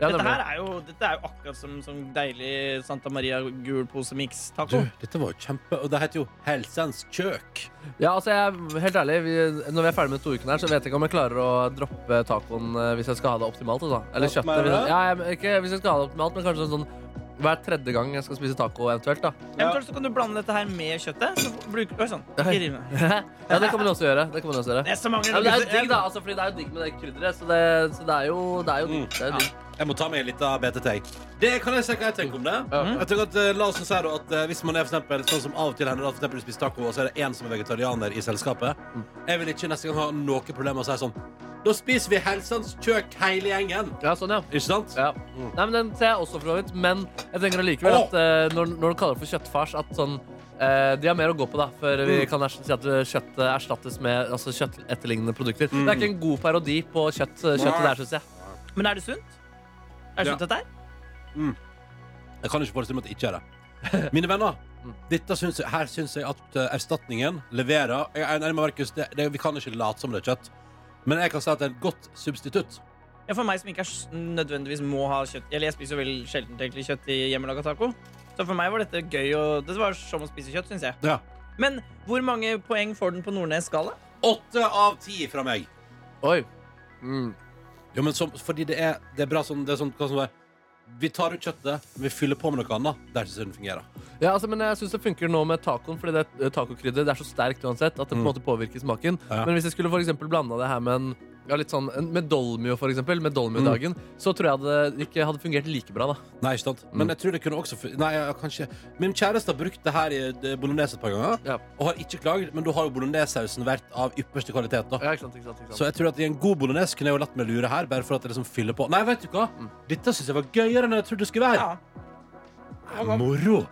Ja,
dette,
nemlig.
her er jo, dette er jo akkurat som, som deilig Santa Maria gul pose mix
Du,
taco.
dette var jo kjempe Og det heter jo Helsens kjøk.
ja, altså, jeg, helt ærlig, vi, når vi er ferdig med to ukene her, så vet jeg ikke om jeg klarer å droppe tacoen eh, hvis jeg skal ha det optimalt. Altså. Eller
Hva
kjøttet.
mener du?
Ja, jeg, ikke hvis jeg skal ha det optimalt, men kanskje sånn hver tredje gang jeg skal spise taco eventuelt. da [laughs]
Eventuelt så kan du blande dette her med kjøttet. Så bruker Oi sånn. Ikke riv meg.
Ja, det kan man også gjøre. Det kan man også gjøre.
Det er så mange
Ja, men det er jo digg, da. Altså, fordi det er jo digg med det krydderet. Så det, så det er jo, det er jo digg. Det er jo digg.
Jeg må ta meg en liten BTT. Det kan jeg si hva jeg tenker om det. Jeg tenker at, eh, la oss nå si da at eh, Hvis man er for eksempel, sånn som av og til hender at for eksempel du spiser taco, og så er det én som er vegetarianer i selskapet Jeg vil ikke neste gang ha noe problem med å si sånn Da spiser vi Helsens kjøk hele gjengen.
Ja, sånn, ja.
Ikke sant?
Ja. Mm. Nei, men Den ser jeg også, for så vidt. Men jeg tenker allikevel at eh, når, når du kaller det for kjøttfars, at sånn eh, De har mer å gå på, da, før vi kan erst- si at eh, kjøttet erstattes med altså, kjøttetterlignende produkter. Det er ikke en god parodi på kjøtt, eh, kjøttet der, syns jeg.
Men er det sunt? Er det
Ja.
sunt, dette her?
Jeg kan ikke forestille meg at det ikke er det. Mine venner, dette syns jeg, her syns jeg at eh, erstatningen leverer. Jeg er enig med Markus, det, det, vi kan ikke late som det er kjøtt. Men jeg kan si at det er et godt substitutt.
Ja, for meg som ikke er s- nødvendigvis må ha kjøtt Eller jeg spiser jo veldig sjelden egentlig kjøtt i hjemmelaga taco. Så for meg var dette gøy. Og det var som å spise kjøtt, syns jeg.
Ja.
Men hvor mange poeng får den på Nordnes-skala?
Åtte av ti fra meg.
Oi. Mm.
Jo, men som, fordi det er, det er bra sånn, det er sånn, hva som er Vi tar ut kjøttet, vi fyller på med noe annet. Det er ikke sånn det fungerer.
Ja, altså, men jeg syns det funker nå med tacoen, fordi det eh, tacokrydderet det er så sterkt uansett at det på en måte påvirker smaken.
Mm. Ja.
Men hvis jeg skulle for eksempel blanda det her med en ja, litt sånn, en- med dolmio, for eksempel, med
Mm.
dolmio-dagen, så tror jeg det ikke hadde fungert like bra, da.
Nei, ikke sant? Men jeg tror det kunne også fu- Nei, jeg, kanskje Min kjæreste har brukt det her i eh, bolognese et par ganger,
Ja.
og har ikke klaget, men da har jo bolognesesausen vært av ypperste kvalitet, da.
Ja, ikke sant, ikke sant, ikke sant.
Så jeg tror at i en god bolognese kunne jeg jo latt meg lure her. Bare for at det liksom fyller på Nei, vet du hva? Dette syns jeg var gøyere enn jeg trodde det skulle være.
Ja.
Moro.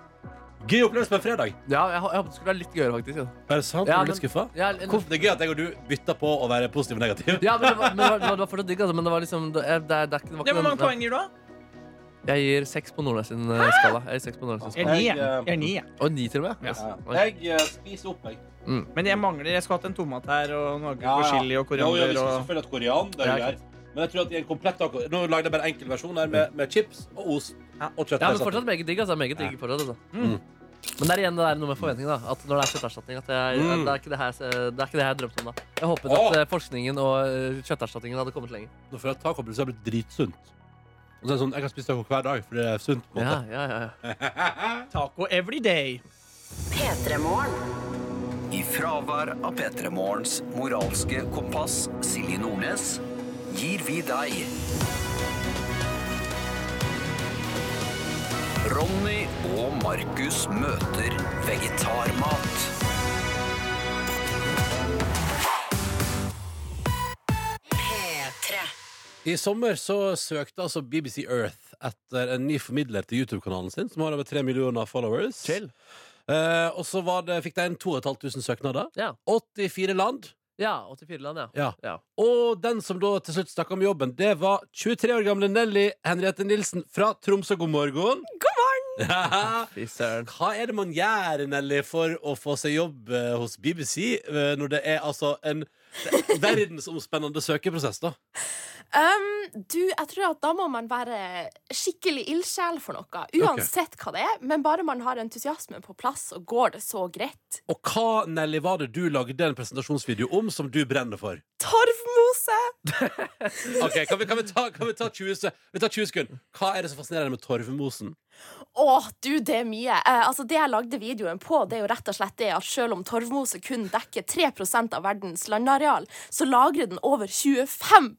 Gøy opplevelse på en fredag.
Ja, jeg, hå- jeg håper det skulle være litt gøyere, faktisk. Ja.
Er det sant?
Ja,
Er du litt
men-
skuffa?
Ja, en-
Hvorfor- Det er gøy at jeg og du bytter på å være positiv og negativ.
ja, men det var, men det var, det var fortsatt digg, altså. Men det var liksom Det, er- det, er- det er ikke, det var
Ja,
ikke
hvor
noe-
mange poeng gir du, da?
Jeg gir seks på Nordnes sin eh, skala. Jeg gir seks på Nordnes sin
Jeg
skala.
er ni,
Jeg,
jeg.
eh,
Jeg er ni, jeg.
Og ni, til og
[laughs]
med. Yes. Oi.
spiser opp, jeg.
Men jeg mangler Jeg skulle hatt en tomat her og noe ja, chili og
vi
koriander
skal
og
selvfølgelig hatt koriander. det er
Ja,
jo greit. Men jeg tror at i en komplett taco Nå lagde jeg bare enkel versjon her med, med chips og ost.
Ja.
Og kjøtt.
Ja, men fortsatt meget digg, altså. Meget digg fortsatt, altså. Men det er igjen det der noe med forventninger, da. At når det er kjøtterstatning, at jeg,
Mm.
det, er ikke det, her, det er ikke det jeg drømte om, da. Jeg håpet
Åh!
at eh, forskningen og eh, kjøtterstatningen hadde kommet lenger.
Nå føler jeg at tacobrus har blitt dritsunt. Og så er det sånn, Jeg kan spise taco hver dag, for det er sunt. på en
Ja,
måte.
ja, ja, ja.
taco every day.
I fravær av P3 Morgens moralske kompass, Silje Nordnes, gir vi deg Ronny og Markus møter vegetarmat.
I sommer så søkte altså BBC Earth etter en ny formidler til YouTube-kanalen sin, som har over tre millioner followers.
Chill.
Eh, og så var det, fikk de inn 2500 søknader.
Ja.
84 land.
Ja, 84-land, ja.
Ja.
ja.
Og den som da til slutt snakka om jobben, det var 23 år gamle Nelly Henriette Nilsen fra Tromsø. God morgen. God morgen.
Fy søren.
[laughs] Hva er det man gjør, Nelly, for å få seg jobb eh, hos BBC, eh, når det er altså en verdensomspennende søkeprosess, da?
Um, du, jeg tror at da må man være skikkelig ildsjel for noe. Uansett hva det er, men bare man har entusiasmen på plass, så går det så greit.
Og hva, Nelly, var det du lagde en presentasjonsvideo om som du brenner for?
Torvmose!
Ok, Kan vi, kan vi, ta, kan vi ta 20 se- Vi tar 20 sekunder. Hva er det som fascinerer deg med torvmosen?
Å, du, det er mye. Eh, altså, det jeg lagde videoen på, det er jo rett og slett det at selv om torvmose kun dekker 3 av verdens landareal, så lagrer den over 25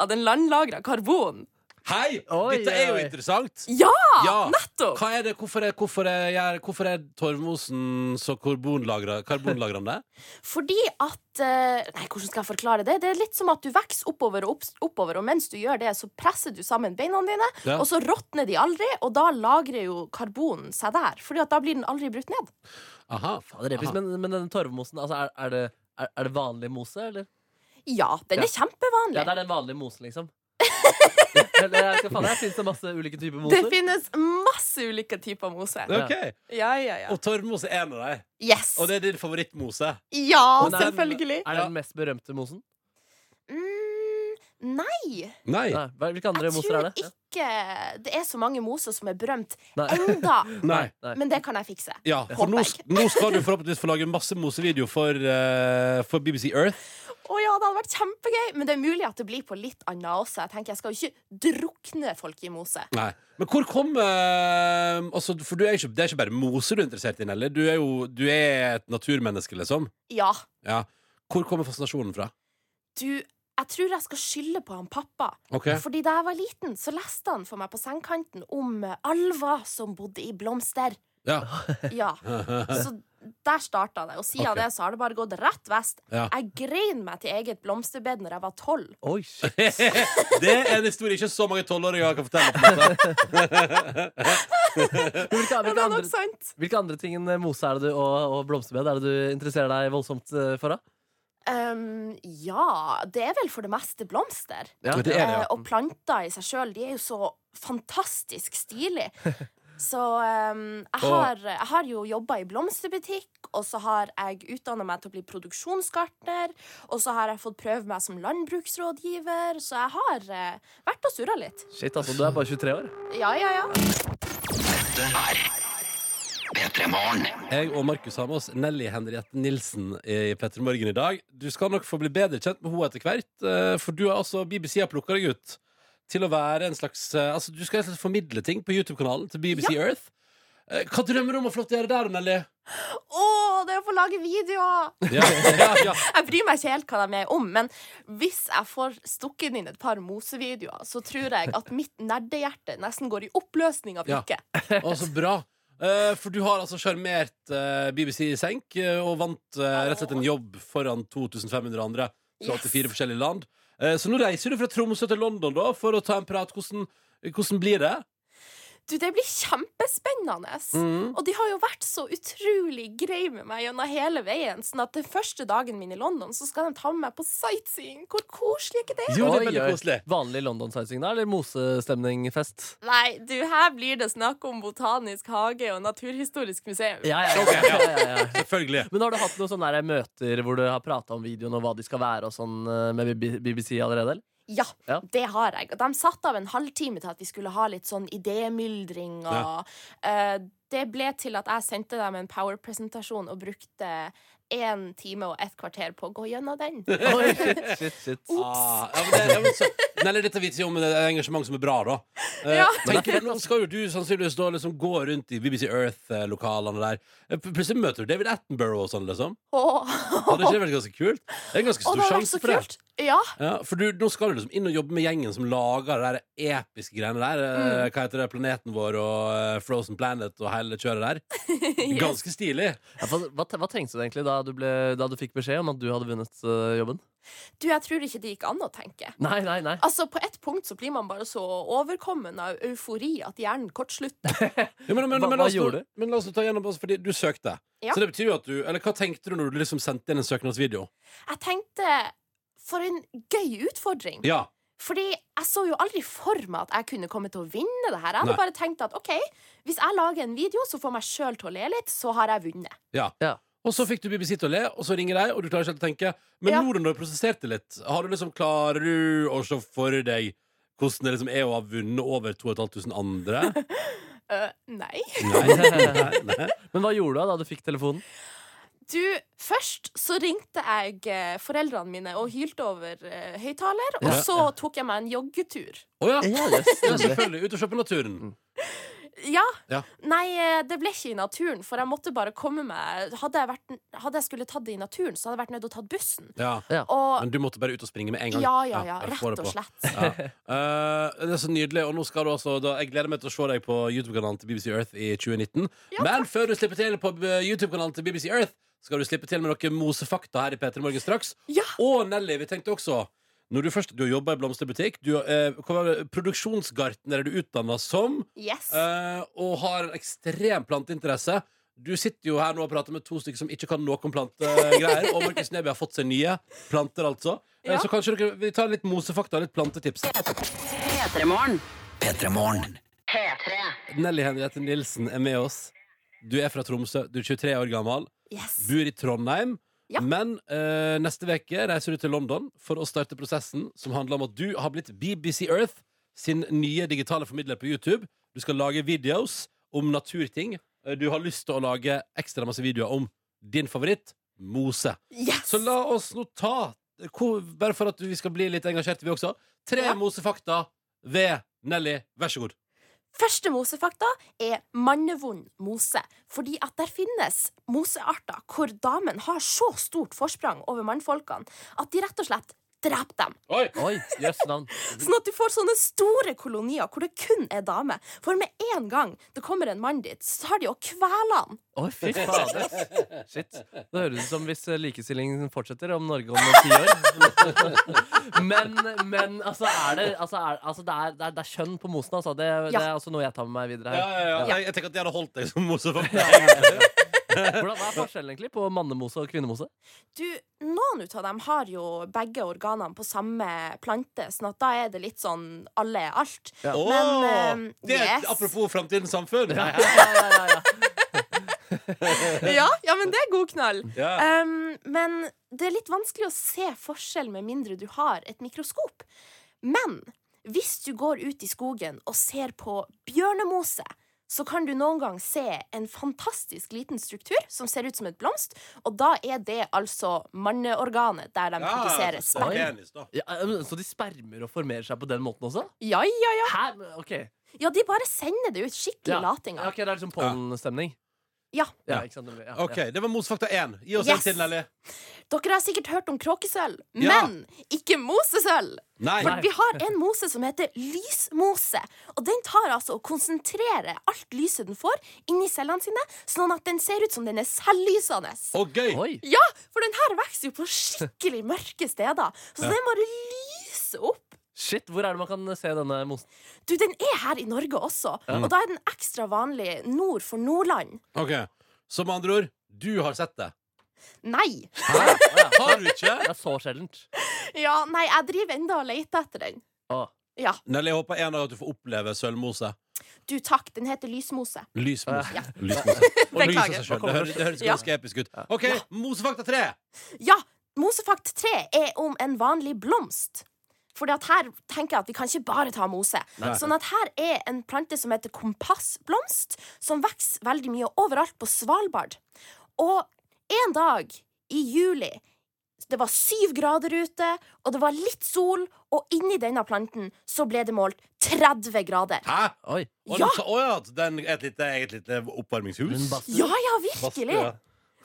av den landlagra karbonen.
Hei!
Oi,
Dette er jo
oi.
interessant.
Ja!
Ja.
Nettopp!
Hva er det, hvorfor, er, hvorfor, er, gjør- hvorfor er torvmosen så karbonlagra- karbonlagrende?
Fordi at eh, Nei, hvordan skal jeg forklare det? Det er litt som at du vokser oppover og opp, oppover, og mens du gjør det, så presser du sammen beina dine,
Ja.
og så råtner de aldri, og da lagrer jo karbonen seg der. Fordi at da blir den aldri brutt ned.
Aha.
Fader, episk. Men, men denne torvmosen, altså, er, er, det, er, er det vanlig mose, eller?
Ja,
Ja.
den er kjempevanlig.
Ja, det er den vanlige mosen,
[laughs]
liksom. Eller, jeg skal faen, her finnes det masse ulike typer
det
moser.
finnes masse ulike typer mose.
Ok,
Ja, ja, ja.
Og torvmose er en av dem.
Yes.
Og det er din favorittmose.
Ja,
Men er den-
selvfølgelig.
Er det den mest berømte mosen?
Mm, nei,
Nei.
Nei. hva- Hvilke andre
jeg
moser
tror
er det?
ikke det er så mange moser som er berømt
Nei. [laughs]
enda.
Nei.
Nei.
Men det kan jeg fikse.
Ja, for nå,
Håper jeg
nå skal du forhåpentligvis få lage masse mosevideo for, eh, for BBC Earth.
Å ja, det hadde vært kjempegøy, men det er mulig at det blir på litt annet også. Jeg tenker, jeg skal jo ikke drukne folk i mose.
Nei. Men hvor kom eh, altså, For du er ikke, det er ikke bare mose du er interessert i, Nelly. Du er jo du er et naturmenneske, liksom.
Ja,
Ja. Hvor kommer fascinasjonen fra?
du, jeg tror jeg skal skylde på han pappa.
Ok.
Fordi da jeg var liten, så leste han for meg på sengekanten om eh, alver som bodde i blomster.
[laughs] Ja.
Ja, så der starta det. Og siden
Ok.
det så har det bare gått rett vest.
Ja.
Jeg grein meg til eget blomsterbed når jeg var tolv.
Oi, shit.
Det er en historie ikke så mange tolvåringer kan fortelle. På en måte.
Hvilke,
[laughs] Ja,
hvilke,
det er nok
andre,
sant.
hvilke andre ting enn mose er det du, og, og blomsterbed er det du interesserer deg voldsomt eh, for? da?
Um, ja, det er vel for det meste blomster.
Ja.
Det er det, ja.
Eh, og planter i seg sjøl, de er jo så fantastisk
[laughs]
stilige. Så em, jeg,
Og-
har, jeg har jo jobba i blomsterbutikk, og så har jeg utdanna meg til å bli produksjonsgartner, og så har jeg fått prøve meg som landbruksrådgiver, så jeg har eh, vært og surra litt.
Shit, altså, du er bare 23 år.
Ja, ja, ja.
P3 Morgen.
Jeg og Markus har med oss Nelly Henriette Nilsen i Petter Morgen i dag. Du skal nok få bli bedre kjent med henne etter hvert, eh, for du har altså BBC har plukka deg ut til å være en slags eh, Altså, du skal rett og slett formidle ting på YouTube-kanalen til BBC Earth. Eh, Hva drømmer du om å få lov til å gjøre der, Nelly?
Å, det er å få lage videoer!
Ja, [laughs] ja, ja.
Jeg bryr meg ikke helt hva de er om, men hvis jeg får stukket inn et par mosevideoer, så tror jeg at mitt nerdehjerte nesten går i oppløsning av
Ja.
lykke.
Å, så bra. Eh, for du har altså sjarmert eh, BBC i senk eh, og vant eh, rett og slett en jobb foran 2500 andre fra
Yes.
84 forskjellige land. Eh, så nå reiser du fra Tromsø til London da for å ta en prat. Hvordan, hvordan blir det?
Du, det blir kjempespennende. Og de har jo vært så utrolig greie med meg gjennom hele veien. Sånn at den første dagen min i London, så skal de ta med meg på sightseeing. Hvor koselig er ikke det?
Jo, det er
Oi,
veldig
oi.
koselig.
Vanlig London-sightseeing, da? Eller mosestemningfest?
Nei, du, her blir det snakk om botanisk hage og naturhistorisk museum.
Ja, ja, ja,
Ok, ja.
ja, ja, ja.
Selvfølgelig.
Men har du hatt noen sånne der møter hvor du har prata om videoen og hva de skal være og sånn eh, med B- BBC allerede? eller?
Ja,
Ja.
det har jeg. Og de satte av en halvtime til at vi skulle ha litt sånn idémyldring og eh, Det ble til at jeg sendte dem en power-presentasjon og brukte én time og et kvarter på å gå gjennom [laughs] den.
Oi, shit, shit, shit.
Ah, ja, men det, ja, men så, nei, eller dette vitser jo om et engasjement som er bra, da. Eh,
Ja.
tenker du, nå skal jo du sannsynligvis da liksom gå rundt i BBC Earth-lokalene der. Eh, pl- Plutselig
[laughs]
møter du David Attenborough og sånn, liksom.
Åh.
Hadde ikke det vært ganske kult? Det er en ganske
Å,
stor
det hadde vært
sjanse
så
for det.
kult! Ja.
Ja, for du, nå skal du liksom inn og jobbe med gjengen som lager det der episke greiene der. eh,
Mm.
Hva heter det? Planeten vår og eh, Frozen Planet og hele kjøret
[laughs]
der. Ganske stilig.
Ja, for, hva, hva trengte du egentlig da du, ble, da du fikk beskjed om at du hadde vunnet eh, jobben?
Du, jeg tror ikke det gikk an å tenke.
Nei, nei, nei.
Altså, På ett punkt så blir man bare så overkommen av eufori at hjernen kortslutter.
Ja, men, men,
Hva-
men,
hva
la oss nå-
gjorde du?
men la oss nå ta gjennom oss, fordi du søkte.
Ja.
Så det betyr jo at du Eller hva tenkte du når du liksom sendte inn en søknadsvideo?
Jeg tenkte for en gøy utfordring.
Ja.
Fordi jeg så jo aldri for meg at jeg kunne komme til å vinne det her. Jeg hadde
Nei.
bare tenkt at ok, hvis jeg lager en video som får meg sjøl til å le litt, så har jeg vunnet.
ja.
Ja.
Og så fikk du BBC til å le, og så ringer de, og du klarer ikke helt å tenke. Men
Ja.
nå når du har prosessert det litt, har du liksom klarer du å se for deg hvordan det liksom er å ha vunnet over 2500 andre?
[laughs]
Eh,
Øh, nei.
Nei. Nei.
Men hva gjorde du da du fikk telefonen?
Du, først så ringte jeg eh, foreldrene mine og hylte over eh, høyttaler, og
Ja.
så tok jeg meg en joggetur.
Å ja.
Ja,
ja,
yes.
selvfølgelig. Ut og se på naturen.
Ja.
Ja.
Nei, eh, det ble ikke i naturen, for jeg måtte bare komme meg Hadde jeg, vært, hadde jeg skulle tatt det i naturen, så hadde jeg vært nødt til å ta bussen.
Ja.
Og
Men du måtte bare ut og springe med en gang.
ja, ja, ja.
jeg får
Rett
det
og
på.
slett.
Ja. Eh, det er så nydelig. Og nå skal du også da, Jeg gleder meg til å se deg på YouTube-kanalen til BBC Earth i 2019. Men før du slipper til på eh, YouTube-kanalen til BBC Earth, skal du slippe til med noen mosefakta her i P3 Morgen straks.
Ja.
Og Nelly, vi tenkte også når du først du har jobba i blomsterbutikk, du eh, hva var det, produksjonsgartner er du utdanna som,
Yes.
eh, og har en ekstrem planteinteresse. Du sitter jo her nå og prater med to stykker som ikke kan noe om plantegreier. Og Markus Neby har fått seg nye planter, altså. Eh,
Ja.
Så kanskje dere, vi tar litt mosefakta og litt plantetips.
Petremorne.
Nelly Henriette Nilsen er med oss. Du er fra Tromsø, du er 23 år gammel,
yes.
bor i Trondheim.
Ja.
Men eh, neste veke reiser du til London for å starte prosessen som handler om at du har blitt BBC Earth sin nye digitale formidler på YouTube. Du skal lage videos om naturting. Eh, Du har lyst til å lage ekstra masse videoer om din favoritt, mose.
Yes.
Så la oss nå ta, hvor- bare for at vi skal bli litt engasjerte, vi også, tre
Ja.
mosefakta ved Nelly. Vær så god.
Første mosefakta er mannevond mose. Fordi at der finnes mosearter hvor damen har så stort forsprang over mannfolkene at de rett og slett dreper dem.
Oi!
Oi, jøss navn.
Sånn at du får sånne store kolonier hvor det kun er damer. For med en gang det kommer en mann dit, så tar de og kveler han.
Oi, [laughs] fy fader. Shit. Det høres ut som hvis eh, likestillingen fortsetter om Norge om ti år. [laughs] Men, men altså, er det, altså, er, altså det, er, det, er, det er kjønn på mosen, altså. Det, det er altså noe jeg tar med meg videre
Ja,
her.
ja, ja. Jeg, jeg tenker at de hadde holdt deg som mosefakta.
Hvordan hva er forskjellen egentlig på mannemose og kvinnemose?
Du, Noen ut av dem har jo begge organene på samme plante, sånn at da er det litt sånn alle er alt.
Åh,
Men, eh,
det er
yes.
Apropos framtidens samfunn.
[laughs] Ja, ja, men det er god knall.
[laughs] Ja.
Um, men det er litt vanskelig å se forskjell med mindre du har et mikroskop. Men hvis du går ut i skogen og ser på bjørnemose, så kan du noen gang se en fantastisk liten struktur som ser ut som et blomst, og da er det altså manneorganet der de produserer
så det er
sperm.
penis, da.
Ja, eh, så de spermer og formerer seg på den måten også?
Ja, ja, ja.
Hæ? Men, Ok.
Ja, de bare sender det ut. Skikkelig
Ja.
lating.
Ja, ok, det er liksom pollenstemning?
Ja.
ja, ikke sant? det blir- Ja,
OK,
ja.
det var mosefakta én. Gi oss en
Yes.
til, Nelly.
Dere har sikkert hørt om kråkesølv,
Ja.
men ikke mosesølv.
Nei.
For vi har en mose som heter lysmose, og den tar altså og konsentrerer alt lyset den får, inni cellene sine, sånn at den ser ut som den er selvlysende.
Å, gøy.
Oi.
Ja, for den her vokser jo på skikkelig mørke steder, så den bare lyser opp.
Shit, hvor er det man kan se denne mosen?
Du, den er her i Norge også, og da er den ekstra vanlig nord for Nordland.
Ok. Så med andre ord, du har sett det.
Nei.
Hæ? Å, ja.
Har du ikke?
Det er så sjeldent.
Ja, nei, jeg driver enda og leter etter den.
Å.
Ja,
Nelly, jeg håper en dag at du får oppleve sølvmose.
du takk, den heter lysmose.
Lysmose.
Ja. [laughs]
Lysmose. Og lys av
Beklager.
seg selv. Det høres, det høres
Ja.
ganske episk ut. OK, mosefakta tre.
Ja, Mosefakt 3 er om en vanlig blomst. Fordi at her tenker jeg at Vi kan ikke bare ta mose. Sånn at Her er en plante som heter kompassblomst, som vokser veldig mye overalt på Svalbard. Og en dag i juli Det var syv grader ute, og det var litt sol, og inni denne planten så ble det målt 30 grader.
Hæ?
Oi.
Å,
Ja.
den- Å ja, den er et lite, eget lite
Men
oppvarmingshus.
Basse,
Ja, ja,
Bastu,
virkelig!
ja.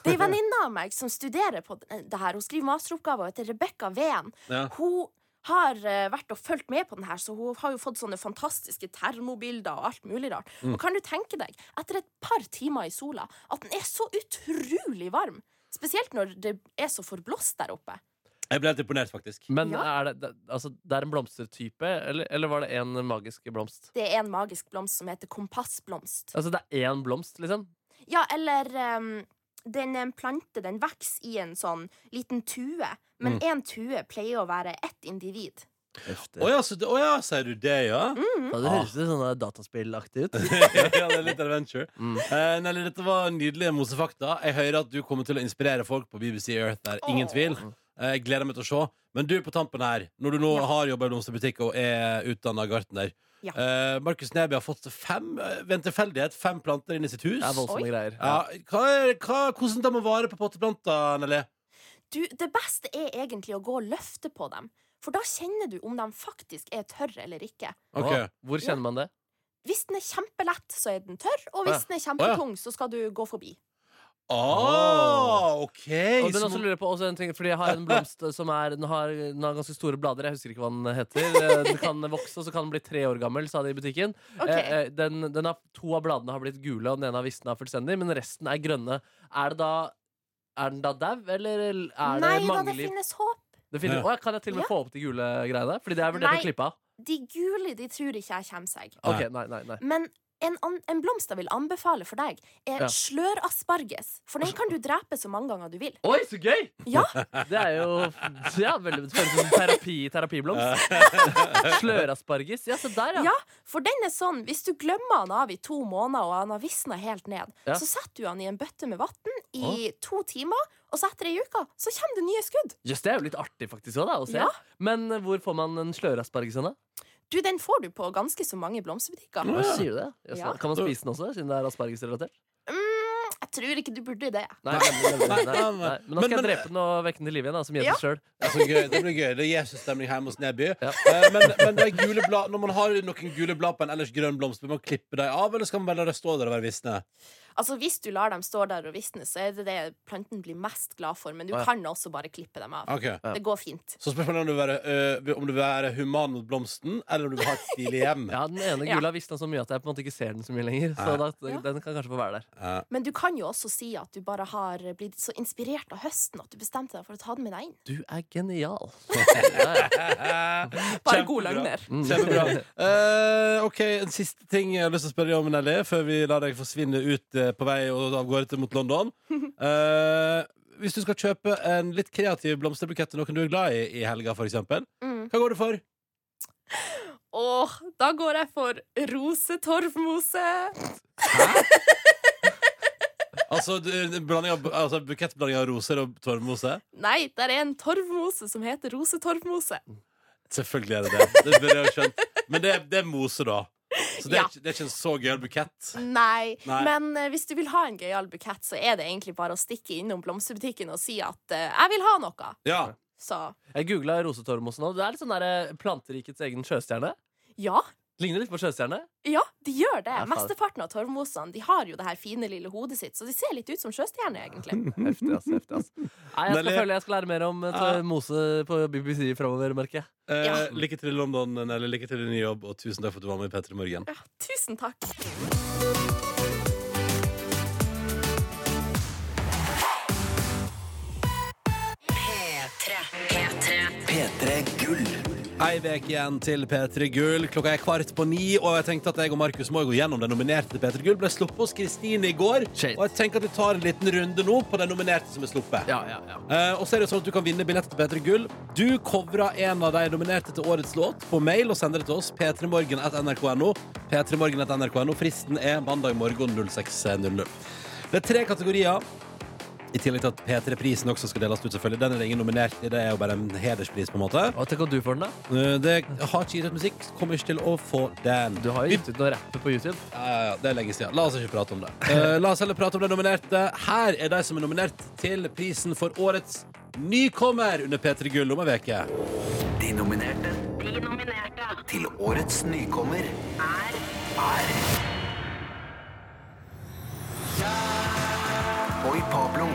Det er ei venninne av meg som studerer på d- det her. Hun skriver masteroppgave og heter Rebekka Ven.
Ja.
Hun har eh, vært og fulgt med på den her, så hun har jo fått sånne fantastiske termobilder og alt mulig rart. Og kan du tenke deg, etter et par timer i sola, at den er så utrolig varm? Spesielt når det er så forblåst der oppe.
Jeg ble helt imponert, faktisk.
Men
Ja.
er det, det, altså, det er en blomstertype, eller, eller var det en magisk blomst?
Det er en magisk blomst som heter kompassblomst.
Altså, det er én blomst, liksom?
Ja, eller ehm, den er en plante, den vokser i en sånn liten tue. Men én tue pleier å være ett individ.
Heftig.
Å ja, så det- å ja, sier du det, ja?
Mm.
Ja,
Ah.
Det høres litt sånn dataspillaktig ut.
ja, det er litt adventure.
Mm.
Eh, Nelly, dette var nydelige mosefakta. Jeg hører at du kommer til å inspirere folk på BBC Earth. Der. Ingen
Åh.
tvil. Eh, Jeg gleder meg til å se. Men du på tampen her, når du nå har jobba i blomsterbutikk og er utdanna gartner
Ja.
eh, Markus Neby har fått fem eh, ved en tilfeldighet fem planter inn i sitt hus.
Det er voldsomme
Oi.
greier.
Ja, hva er, hva, hvordan tar man vare på potteplanter, Nelly?
Du, det beste er egentlig å gå og løfte på dem. For da kjenner du om de faktisk er tørre eller ikke.
Ok.
Å, Hvor kjenner man det?
Hvis den er kjempelett, så er den tørr. Og hvis
Å ja.
den er kjempetung, så skal du gå forbi.
Ah, OK!
Og den
så
også
må-
lurer jeg på også en ting, fordi Jeg har
[laughs]
en blomst som er, den har, den har ganske store blader. Jeg husker ikke hva den
[laughs]
heter. Den kan vokse og så kan den bli tre år gammel, sa de i butikken.
Ok.
Eh, eh, Den, den har, to av bladene har blitt gule, og den ene har visna fullstendig, men resten er grønne. Er det da er den da dau, eller er
Nei
det
da, det
mangeliv?
finnes håp.
Det finnes,
Ja.
Å, ja, kan jeg til og med
Ja.
få opp de gule greiene? Fordi det har jeg vurdert
Nei.
å klippe av.
De gule, de tror ikke jeg kommer seg.
Ok, nei, nei, nei.
Men en, an- en blomst jeg vil anbefale for deg, er
Ja.
slørasparges. For den kan du drepe så mange ganger du vil.
Oi, så gøy!
Ja,
Det er jo ja, veldig, det føles som terapi, terapiblomst. [laughs] Slørasparges. Ja, se der, ja.
Ja, for den er sånn Hvis du glemmer han av i to måneder Og han har visnet helt ned
Ja.
Så setter du han i en bøtte med vatten I to timer Og så etter ei uke Så kommer det nye skudd
Jøss, det er jo litt artig faktisk også, da, å se.
Ja.
Men eh, hvor får man en slørasparges hen, da?
Du, den får du på ganske så mange blomsterbutikker
Hva sier du det? Jøss,
Ja.
Kan man spise den også, siden det er aspargesrelatert?
mm, Jeg tror ikke du burde det
Nei, nemlig, nemlig, nei,
Nei, nei.
nei. Men da skal
Men-
jeg
men-
drepe den og vekke den til liv igjen, da, som
Ja.
Jesus selv
Det, er så gøy. det blir gøy. Det er Jesus-stemning hjemme hos Neby.
Ja.
Eh, Men, men de gule blad, når man har noen gule blad på en ellers grønn blomst, bør man klippe dem av, eller skal man bare la det stå der og være visne?
Altså, hvis du lar dem stå der og visne Så er det det planten blir mest glad for Men du
Ja.
kan også bare klippe dem av
Ok.
Det går fint
Så spørsmålet er om du vil være, øh, om du vil være human mot blomsten, eller om du vil ha et stilig hjem.
[laughs] Ja, den ene
Ja.
gula visste han så mye at jeg på en måte ikke ser den så mye lenger. Så da,
Ja.
den kan kanskje få være der.
Eh,
Men du kan jo også si at du bare har blitt så inspirert av høsten At du bestemte deg for å ta den med deg inn
Du er genial. Ja, ja. Mm.
Bare
Kjempebra.
god løgner
[laughs] Kjempebra. Eh, ok, En siste ting jeg har lyst til å spørre deg om, Nelly, før vi lar deg forsvinne ut eh, på vei og av gårde til mot
[laughs]
London. Eh, hvis du skal kjøpe en litt kreativ blomsterbukett til noen du er glad i i helga, for eksempel
Mm.
hva går du for?
Åh, da går jeg for rosetorvmose
Altså, du- blanding av, altså Bukettblanding av roser og torvmose?
Nei, der er en torvmose som heter rosetorvmose.
Selvfølgelig er det det. det burde jeg ha skjønt. Men det, det er mose, da. Så det er,
Ja.
ikke, det er ikke en så gøyal bukett.
Nei,
Nei.
men eh, hvis du vil ha en gøyal bukett, så er det egentlig bare å stikke innom blomsterbutikken og si at eh, 'jeg vil ha noe'.
Ja.
Så
Jeg googla rosetormosen nå. Det er litt sånn der eh, planterikets egen sjøstjerne.
ja.
Ligner litt på sjøstjerne.
Ja, de gjør det.
Ja, faen.
Mesteparten av torvmosene de har jo det her fine lille hodet sitt, så de ser litt ut som sjøstjerner,
[laughs]
egentlig.
Heftig, ass. heftig, ass. Nei, jeg skal
Nelly.
følge, jeg skal lære mer om eh,
Ja.
mose på BBC framover, merker jeg.
Eh,
Ja.
Lykke til i London, eller lykke til i ny jobb, og tusen takk for at du var med i Petter i morgen.
Ja, tusen takk.
P3 Gull.
Ei vek igjen til P3 Gull. Klokka er kvart på ni, og jeg tenkte at jeg og Markus må gå gjennom den nominerte til P3 Gull. Ble sluppet hos Kristine i går,
Shit.
og jeg tenker at vi tar en liten runde nå på den nominerte som er sluppet.
Ja, ja, ja.
Eh, og så er det jo sånn at Du kan vinne billetter til P3 Gull. Du covrer en av de nominerte til årets låt på mail og sender det til oss. p3morgen.nrk.no. p3morgen.nrk.no. Fristen er mandag morgen 06.00. Det er tre kategorier. I tillegg til at P3-prisen også skal deles ut, selvfølgelig. Den er det ingen nominert i. Det er jo bare en hederspris, på en måte.
Og tenk om du får den, da.
Eh, Det har ikke gitt ut musikk. Kommer ikke til å få den.
Du har
Vi-
jo gitt ut noen rapper på YouTube.
ja, ja, ja, det er lenge siden. La oss ikke prate om
[laughs]
det. Eh, la oss heller prate om de nominerte. Her er de som er nominert til prisen for årets nykommer under P3 Gull om ei uke.
De nominerte
De nominerte
til årets nykommer
er
er Boy Pablo.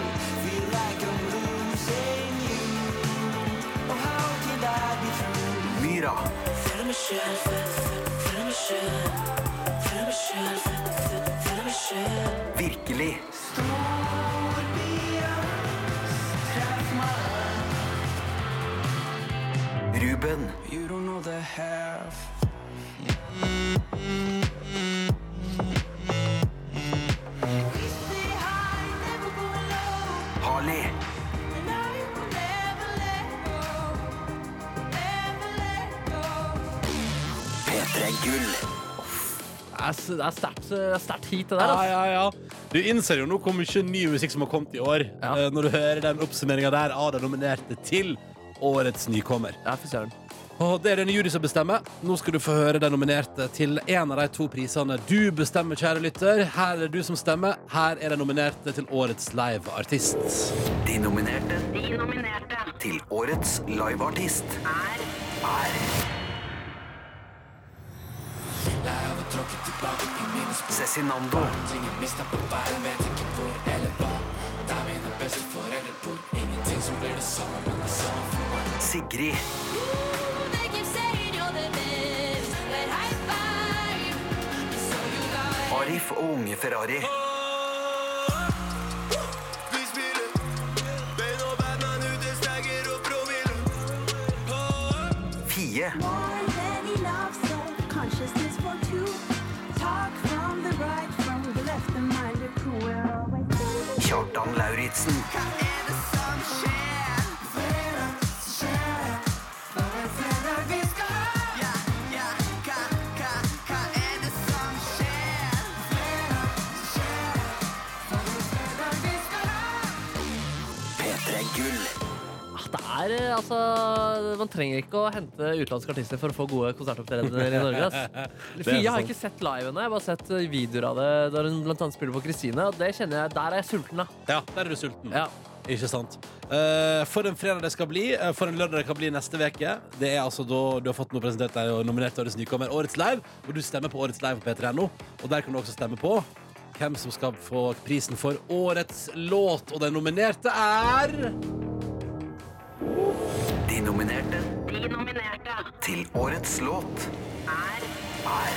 Myra. Virkelig. Ruben. Harley. P3 Gull.
Det er s- det er sterkt det er sterkt heat, det der.
Ja,
ass.
ja, ja. Du innser jo nå hvor mye ny musikk som har kommet i år,
Ja.
eh, når du hører den oppsummeringa der av de nominerte til årets nykommer.
Ja, fy søren.
Og det er det en jury som bestemmer. Nå skal du få høre den nominerte til en av de to prisene du bestemmer, kjære lytter. Her er det du som stemmer. Her er den nominerte til årets liveartist.
De nominerte. Til årets liveartist. Er. Cezinando. Sigrid. Arif og unge Ferrari. Fie. Kjartan Lauritzen. P3 Gull.
Ah, Det er, eh, altså, man trenger ikke å hente utenlandske artister for å få gode konsertopptredener i [laughs] Norge. Ass. Fie har jeg ikke sett live henne. Jeg har bare sett eh, videoer av det der hun blant annet spiller på Kristine. og Det kjenner jeg, Der er jeg sulten, da.
Ja, der er du sulten.
Ja.
Ikke sant. Eh, for en fredag det skal bli, eh, for en lørdag det kan bli neste uke. Det er altså da du har fått noe presentert deg og nominert til Årets nykommer, Årets Live. Og du stemmer på Årets Live på p3.no, og der kan du også stemme på hvem som skal få prisen for Årets låt. Og den nominerte er
De nominerte. Til årets låt. Er.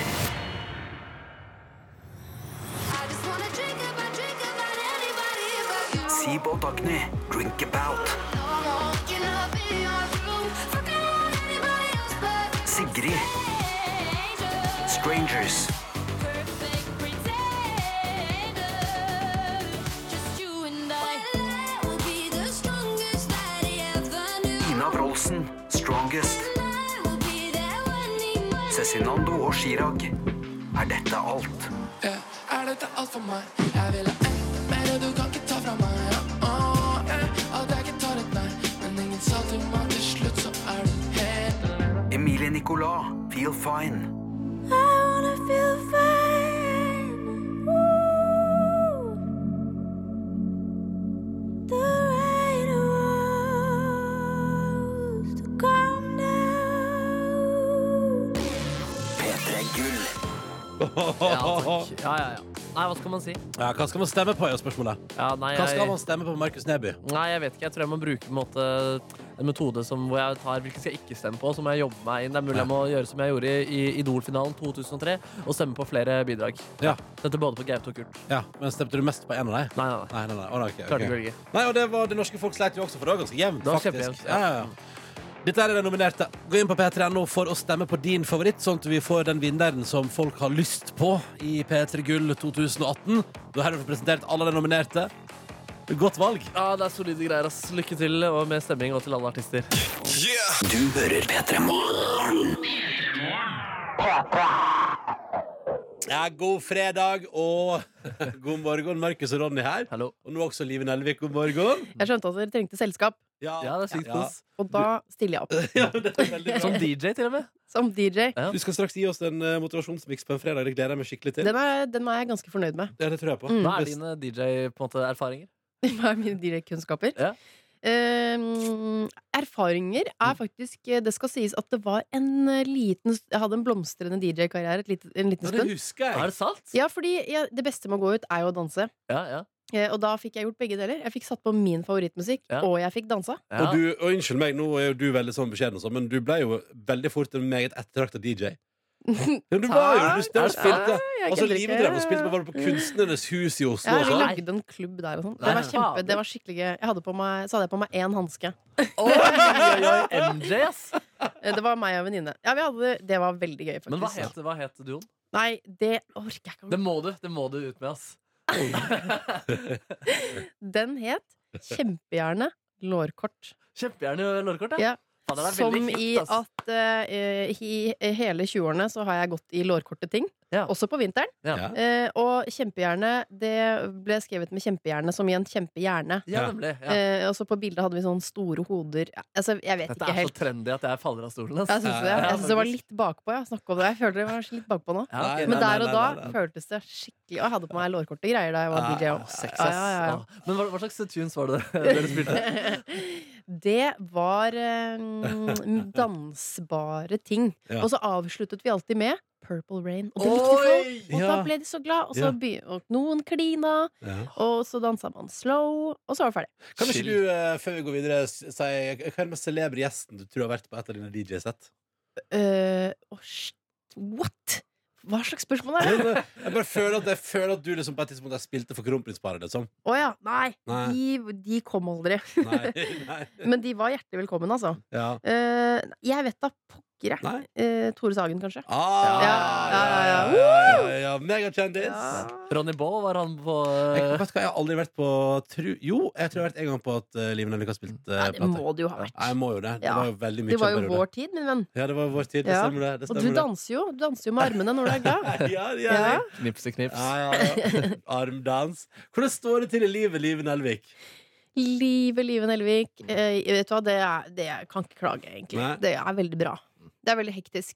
Sib og Dagny. Drink about. Sigrid. Strangers. Ina Wroldsen. Strongest. Cezinando og Chirag. Er dette alt?
Eh, Er dette alt for meg? Jeg vil ha ett mer, og du kan ikke ta fra meg. Ja, Åh, eh, at jeg ikke tar et nei, men ingen sa til meg til slutt, så er du helt
Emilie Nicolas. Feel fine. P3 Gull.
Ja, takk. ja, ja, ja. Nei, hva skal man si?
[laughs] Ja, Hva skal man stemme på? er jo spørsmålet
Ja, nei,
Hva skal
jeg-
man stemme på Markus Neby?
Nei, jeg vet ikke. Jeg tror jeg må bruke på en, måte, en metode som, hvor jeg tar hvilken skal jeg ikke stemme på. Så må jeg jobbe meg inn. Det er mulig jeg må gjøre som jeg gjorde i Idol-finalen 2003, og stemme på flere bidrag.
Ja,
Dette både på Gaute og Kurt.
ja, Men stemte du mest på én av dem?
Nei, nei, nei.
Nei, nei, nei. Å, nei, ok, ok.
Klarte ikke å velge.
nei, og det var det norske folk sleit jo også, for det var ganske jevnt.
Det var
faktisk
kjempejevnt,
ja,
ja.
ja, ja. Dette er det nominerte. Gå inn på p3.no for å stemme på din favoritt, sånn at vi får den vinneren som folk har lyst på i P3 Gull 2018. Du har herved presentert alle de nominerte. Godt valg.
Ja, det er solide greier. Ass. Lykke til og med stemming og til alle artister.
Du hører P3 Morgen.
Ja, god fredag og [laughs] god morgen. Markus og Ronny her.
Hallo.
Og nå også Live Nelvik. God morgen.
Jeg skjønte at dere trengte selskap,
Ja, det er sykt kos.
og da stiller jeg opp.
Ja, det er veldig bra.
Som DJ, til og med.
Som DJ.
Du skal straks gi oss en eh, motivasjonsmiks på en fredag. Det gleder jeg meg skikkelig til.
Den er, den er jeg ganske fornøyd med. [laughs]
Ja, det tror jeg på.
Hva Mm. er dine DJ-erfaringer?
Hva er mine DJ-kunnskaper?
Ja.
Ehm, erfaringer er faktisk eh, Det skal sies at det var en eh, liten Jeg hadde en blomstrende DJ-karriere et lite- en liten
Ja, det
stund.
husker jeg.
Er det sant?
Ja, fordi jeg, det beste med å gå ut er jo å danse.
Ja, ja.
Eh, Og da fikk jeg gjort begge deler. Jeg fikk satt på min favorittmusikk,
Ja.
og jeg fikk dansa.
Ja.
Og, du, og unnskyld meg, nå er jo du veldig sånn beskjeden, og sånn, men du ble jo veldig fort en meget ettertrakta
[laughs]
DJ. Men du var jo du, du
Takk.
spilte,
jeg
altså,
gidder ikke.
Livet drev og spilte på, var det på Kunstnernes hus i Oslo.
Ja, vi
også?
lagde en klubb der og sånn. Det
Nei.
var kjempe, det var skikkelig gøy. Jeg hadde på meg, så hadde jeg på meg én hanske.
MJ, ass!
Eh, Det var meg og en venninne. Ja, vi hadde, det var veldig gøy, faktisk.
Men hva het, hva het duoen?
Nei, det orker jeg ikke.
Det må du det må du ut med, [laughs] ass.
Den
[laughs]
het Kjempegjerne lårkort.
Kjempegjerne lårkort,
Ja.
Faen, det er
Som
veldig
i
hit, ass.
at eh, i i hele 20-årene så har jeg gått i lårkorte ting.
Ja.
Også på vinteren.
Ja.
Ja.
Eh, og kjempegjerne, det ble skrevet med kjempehjerne som i en kjempehjerne.
Ja, nemlig. Ja.
Eh, og så på bildet hadde vi sånne store hoder. Ja, Altså, jeg vet
Dette
ikke
er så
helt.
trendy at jeg faller av stolen. ass.
Jeg syns det.
Ja,
Jeg synes det var
faktisk.
litt bakpå. Jeg snakke om det. Jeg føler det var litt bakpå nå.
Ja, ok.
Nei,
Men
nei,
der og
nei,
da
nei, nei.
føltes det skikkelig Og jeg hadde på meg lårkorte greier da jeg var
Ah,
DJ òg.
Sex,
Ja,
ass.
ja, ja.
Ah. Men hva, hva slags tunes var det dere spilte?
[laughs] Det var eh,
[laughs]
dansbare ting.
Ja.
Og så avsluttet vi alltid med Purple Rain. Og det likte folk! Og da
Ja.
ble de så glad, og
Ja.
så be- og noen klina,
Ja.
og så dansa man slow, og så var det ferdig.
Kan ikke du, eh, før vi går videre, s- si hva er den mest celebre gjesten du tror har vært på et av dine DJ-sett?
Eh, og sh- what?! Hva slags spørsmål er det?
Men, eh, Jeg bare føler at, jeg føler at du liksom på et tidspunkt har spilt det for kronprinsparet, liksom.
Å ja, nei!
Nei.
De, de kom aldri.
Nei,
[laughs]
nei.
Men de var hjertelig velkommen, altså.
Ja.
Eh, jeg vet da pokker, jeg.
Nei.
Eh, Tore Sagen, kanskje.
Ah,
Ja, ja, ja, ja.
ja, ja, ja. Megakjendis.
Ronny Bae var han på
Jeg,
eh,
vet du hva, jeg har aldri vært på tru... Jo, jeg tror jeg har vært en gang på at uh, Liv Nelvik har spilt uh,
Ja, det må det jo ha vært.
Ja, jeg må jo det. Det
Ja.
var jo veldig mye
Det var jo
kjempere,
vår tid, min venn.
det. Ja, det var vår tid. Det
Ja.
stemmer, det. det
Og
stemmer
du
det.
danser jo. Du danser jo med armene når du er glad.
[laughs] Ja, det gjør
Ja.
jeg.
Knipseknips.
Ja, ja, ja. [laughs] Armdans. Hvordan står det til i livet, Liv Nelvik?
Livet, livet Nelvik. Eh, vet du hva, det, er, det jeg kan ikke klage, egentlig.
Nei.
Det er veldig bra. Det er veldig
[laughs]
hektisk.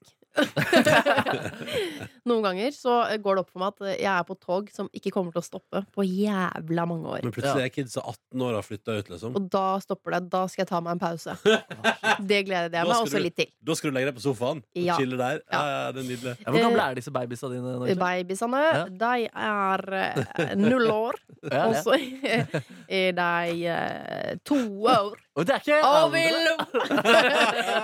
Noen ganger så går det opp for meg at jeg er på et tog som ikke kommer til å stoppe på jævla mange år.
Men plutselig er kidsa 18 år og har flytta ut, liksom.
Og da stopper det. Da skal jeg ta meg en
[laughs]
pause. Det gleder
Da
jeg meg
skal
også
du-
litt til.
Da skal du legge deg på sofaen og
Ja.
chille der. Ja,
Ja.
ja, det er nydelig. [laughs]
Ja, hvor gamle
Eh,
er disse babysa dine? Norge?
Babysene,
Ja.
de er eh, null år.
Ja,
Og
ja.
så [laughs] er de eh, to år.
Og det er ikke
Og
andre.
vil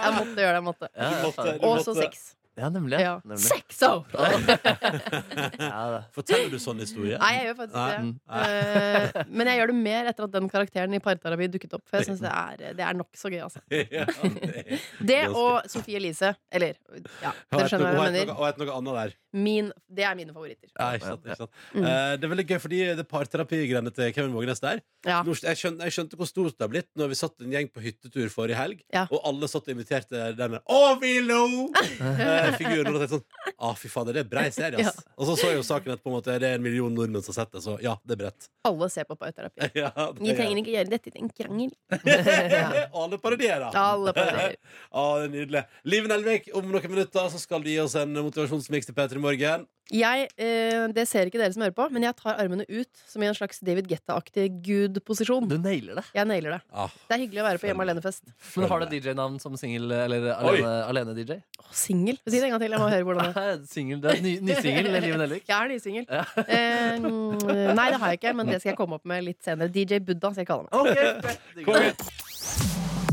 Jeg måtte gjøre det. jeg måtte
Ja,
Du måtte- du
Og så
måtte-
seks.
ja nemlig.
Ja.
nemlig.
Seks år! [laughs]
Ja, det.
Forteller du sånn historie?
Nei, jeg gjør faktisk
Nei.
det. Eh, men jeg gjør det mer etter at den karakteren i Parterapi dukket opp. For jeg synes det er, det er nokså gøy, altså.
[laughs] Ja, det er-
Det og Sofie Elise. Eller, ja,
Hun
dere
het
skjønner hva
noe,
jeg mener.
noe, noe annet der.
Min, det er mine favoritter.
Ja, ikke sant, ikke sant.
Mm.
Eh, det er veldig gøy, fordi det parterapigreiene til Kevin Vågenes der
Ja.
Nå, jeg, skjønte, jeg skjønte hvor stort det har blitt når vi satt en gjeng på hyttetur forrige helg,
Ja.
og alle satt og inviterte denne Å, vi lo! Eh, figuren. Og da tenkte jeg sånn Å, fy fader, det er brei serie, ass. Og så så jeg jo saken etterpå om at det er en million nordmenn som har sett det, så ja, det er bredt.
Alle ser på Parterapi.
[laughs] ja,
Vi trenger ikke gjøre dette til en krangel.
ikke Alle parodierer.
Alle
[laughs]
parodierer.
Ja, det er nydelig. Liv Nelvik, om noen minutter så skal du gi oss en motivasjonsmiks til P3 Morgen.
Jeg, eh, det ser ikke dere som hører på, men jeg tar armene ut som i en slags David Getta-aktig gud-posisjon.
Du nailer det.
Jeg nailer det.
Ah,
Det er hyggelig å være på hjemme alene-fest.
Men har du DJ-navn som singel eller alene-DJ? Alene DJ?
Å, Singel. Si det en gang til. Jeg må høre hvordan det er.
Singel, det er ny- Nysingel, Liven Elvik.
Jeg er nysingel. [laughs] Eh, mm, nei, det har jeg ikke, men det skal jeg komme opp med litt senere. DJ Buddha skal jeg kalle meg.
Ok,
Kom igjen.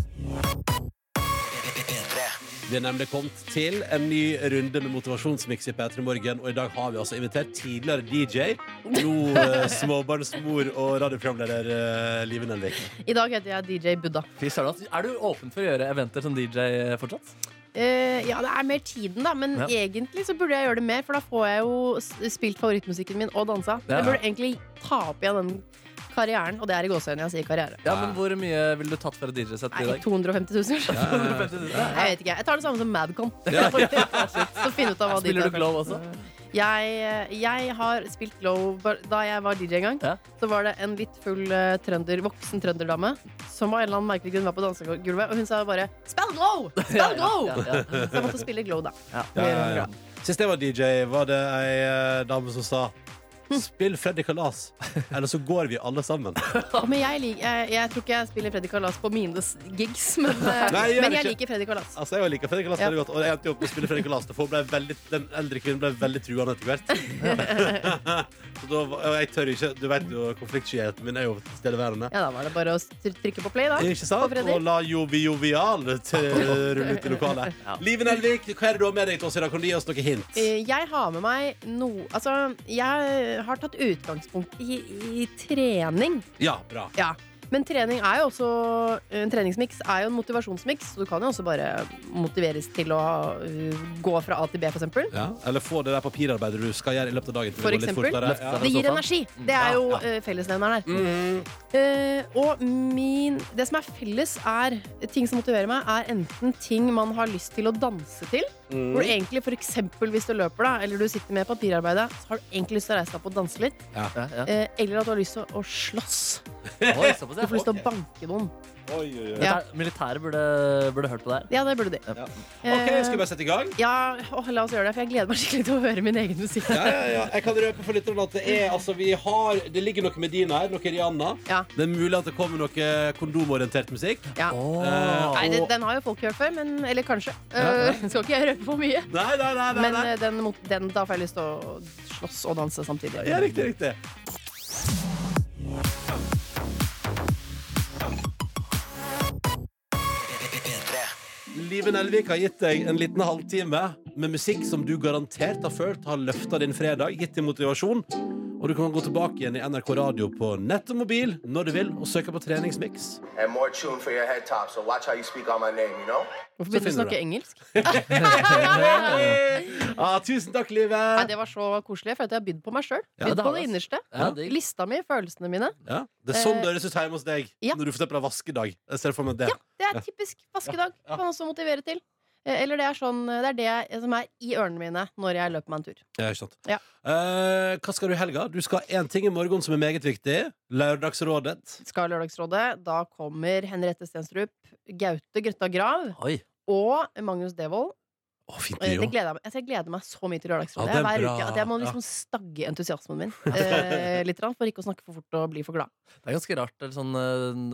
Vi er nemlig kommet til en ny runde med motivasjonsmiks i P3 Morgen. Og i dag har vi altså invitert tidligere DJ, nå eh, småbarnsmor og radioprogramleder eh, Live Nelvik.
I dag heter jeg DJ Buddha.
Fy søren, ass. Er du åpen for å gjøre eventer som DJ fortsatt?
Eh, ja, det er mer tiden, da, men
Ja.
egentlig så burde jeg gjøre det mer, for da får jeg jo s- spilt favorittmusikken min og dansa.
Ja.
Jeg burde egentlig ta opp igjen den karrieren, og det er i gåseøynene jeg sier karriere.
Ja, men Hvor mye ville du tatt for et DJ-sett i
Nei,
dag?
250 000. Jeg vet ikke. Jeg tar det samme
[laughs]
som Madcon. [laughs] så finn ut av hva de
Spiller
tar
du Glow også?
Jeg, eh, jeg har spilt Glow bar- Da jeg var DJ en gang,
Ja.
så var det en litt full eh, trønder, voksen trønderdame som av en eller annen merkelig grunn var på dansegulvet, og hun sa bare 'Spill Glow!' Spill Glow!
[laughs] Ja, ja, ja.
Så jeg
[laughs]
måtte spille Glow, da.
Ja.
Ja, ja, ja. Sist jeg var DJ, var det ei eh, dame som sa Spill Freddy Kalas, eller så går vi alle sammen.
Men jeg, lik, jeg, jeg tror ikke jeg spiller Freddy Kalas på mine s- gigs,
[laughs]
men, eh,
Nei, gjør
men
det
jeg
ikke.
liker Freddy Kalas.
Altså, jeg liker Freddy Kalas
Ja.
veldig godt, og jeg endte jo opp med å spille Freddy Kalas. Derfor ble jeg veldig, den eldre kvinnen ble veldig truende etter hvert. [laughs] Så da, var- og jeg tør ikke, du vet jo, konfliktskyheten min er jo tilstedeværende.
Ja, da var det bare å s- tr- trykke på play, da.
Ikke
på
sant?
Freddy.
Og la Jovi Jovial til- rulle ut i
[laughs]
lokalet. Live Nelvik, hva er det du har med deg til oss i dag? Kan du gi oss noen hint?
Eh, Jeg har med meg noe Altså, jeg har tatt utgangspunkt i, i trening.
Ja, bra.
Ja. Men trening er jo også en treningsmiks er jo en motivasjonsmiks, så du kan jo også bare motiveres til å uh, gå fra A til B, for eksempel.
Ja, eller få det der papirarbeidet du skal gjøre i løpet av dagen. til å gå
For
litt
eksempel.
fortere.
Løfte
Ja.
deg.
Det gir
sofaen.
energi. Det er jo
Ja,
eh, fellesnevneren her.
Mhm.
Eh, og min, det som er felles, er ting som motiverer meg, er enten ting man har lyst til å danse til.
mm.
Hvor du egentlig, for eksempel hvis du løper, da, eller du sitter med papirarbeidet, så har du egentlig lyst til å reise deg opp og danse litt.
Ja, ja.
Eh, eller at du har lyst til å slåss.
Oi, såpass,
Du
ja.
får lyst til å banke noen.
Oi, oi, oi.
Ja.
Militær- Militæret burde, burde hørt på det her.
Ja, det burde de.
Ja.
Ok, skal vi
Eh,
bare sette i gang?
ja, åh, la oss gjøre det, for jeg gleder meg skikkelig til å høre min egen musikk.
Ja, ja, ja. Jeg kan røpe for lytterne at det er altså, vi har Det ligger noe med Dina her, noe Rihanna.
Ja.
Det er mulig at det kommer noe kondomorientert musikk.
Ja.
Eh,
Nei, den,
og-
den har jo folk hørt før, men, eller kanskje. Eh, skal ikke jeg røpe for mye.
Nei, nei, nei, nei,
Men
nei.
eh, den, mot- den, da får jeg lyst til å slåss og danse samtidig.
Ja, riktig, riktig. Live Nelvik har gitt deg en liten halvtime med musikk som du garantert har følt har løfta din fredag, gitt din motivasjon. Og du kan gå tilbake igjen i NRK Radio på nett og mobil når du vil, og søke på treningsmiks.
and more tune for your head top. So watch how you speak on my name, you know?
Hvorfor begynner du å
finner du
snakke engelsk?
Ah, tusen takk, Live.
Nei, det var så koselig. Jeg følte jeg har bydd på meg sjøl.
det
Bydd
har
på det
du, ass.
innerste.
Ja, digg.
Lista mi, følelsene mine.
Ja, det er sånn det høres ut hjemme hos deg
ja.
når du for eksempel har vaskedag. Jeg ser for meg det.
Ja, det er typisk vaskedag. Kan også motivere til. Eh, Eller det er, sånn, det er det jeg- som er i ørene mine når jeg løper meg en tur.
Ja, ikke sant.
Ja.
Eh, hva skal du i helga? Du skal ha én ting i morgen som er meget viktig. Lørdagsrådet.
Skal Lørdagsrådet. Da kommer Henriette Stenstrup, Gaute Grøtta Grav
Oi.
og Magnus Devold.
Å, fint
Eh,
det,
Det
jo.
gleder jeg, meg. jeg gleder meg så mye til Lørdagsrådet.
Ja, det er
Hver
bra.
uke, at jeg må
Ja.
liksom stagge entusiasmen min eh, litt, for ikke å snakke for fort og bli for glad.
Det er ganske rart eller sånn,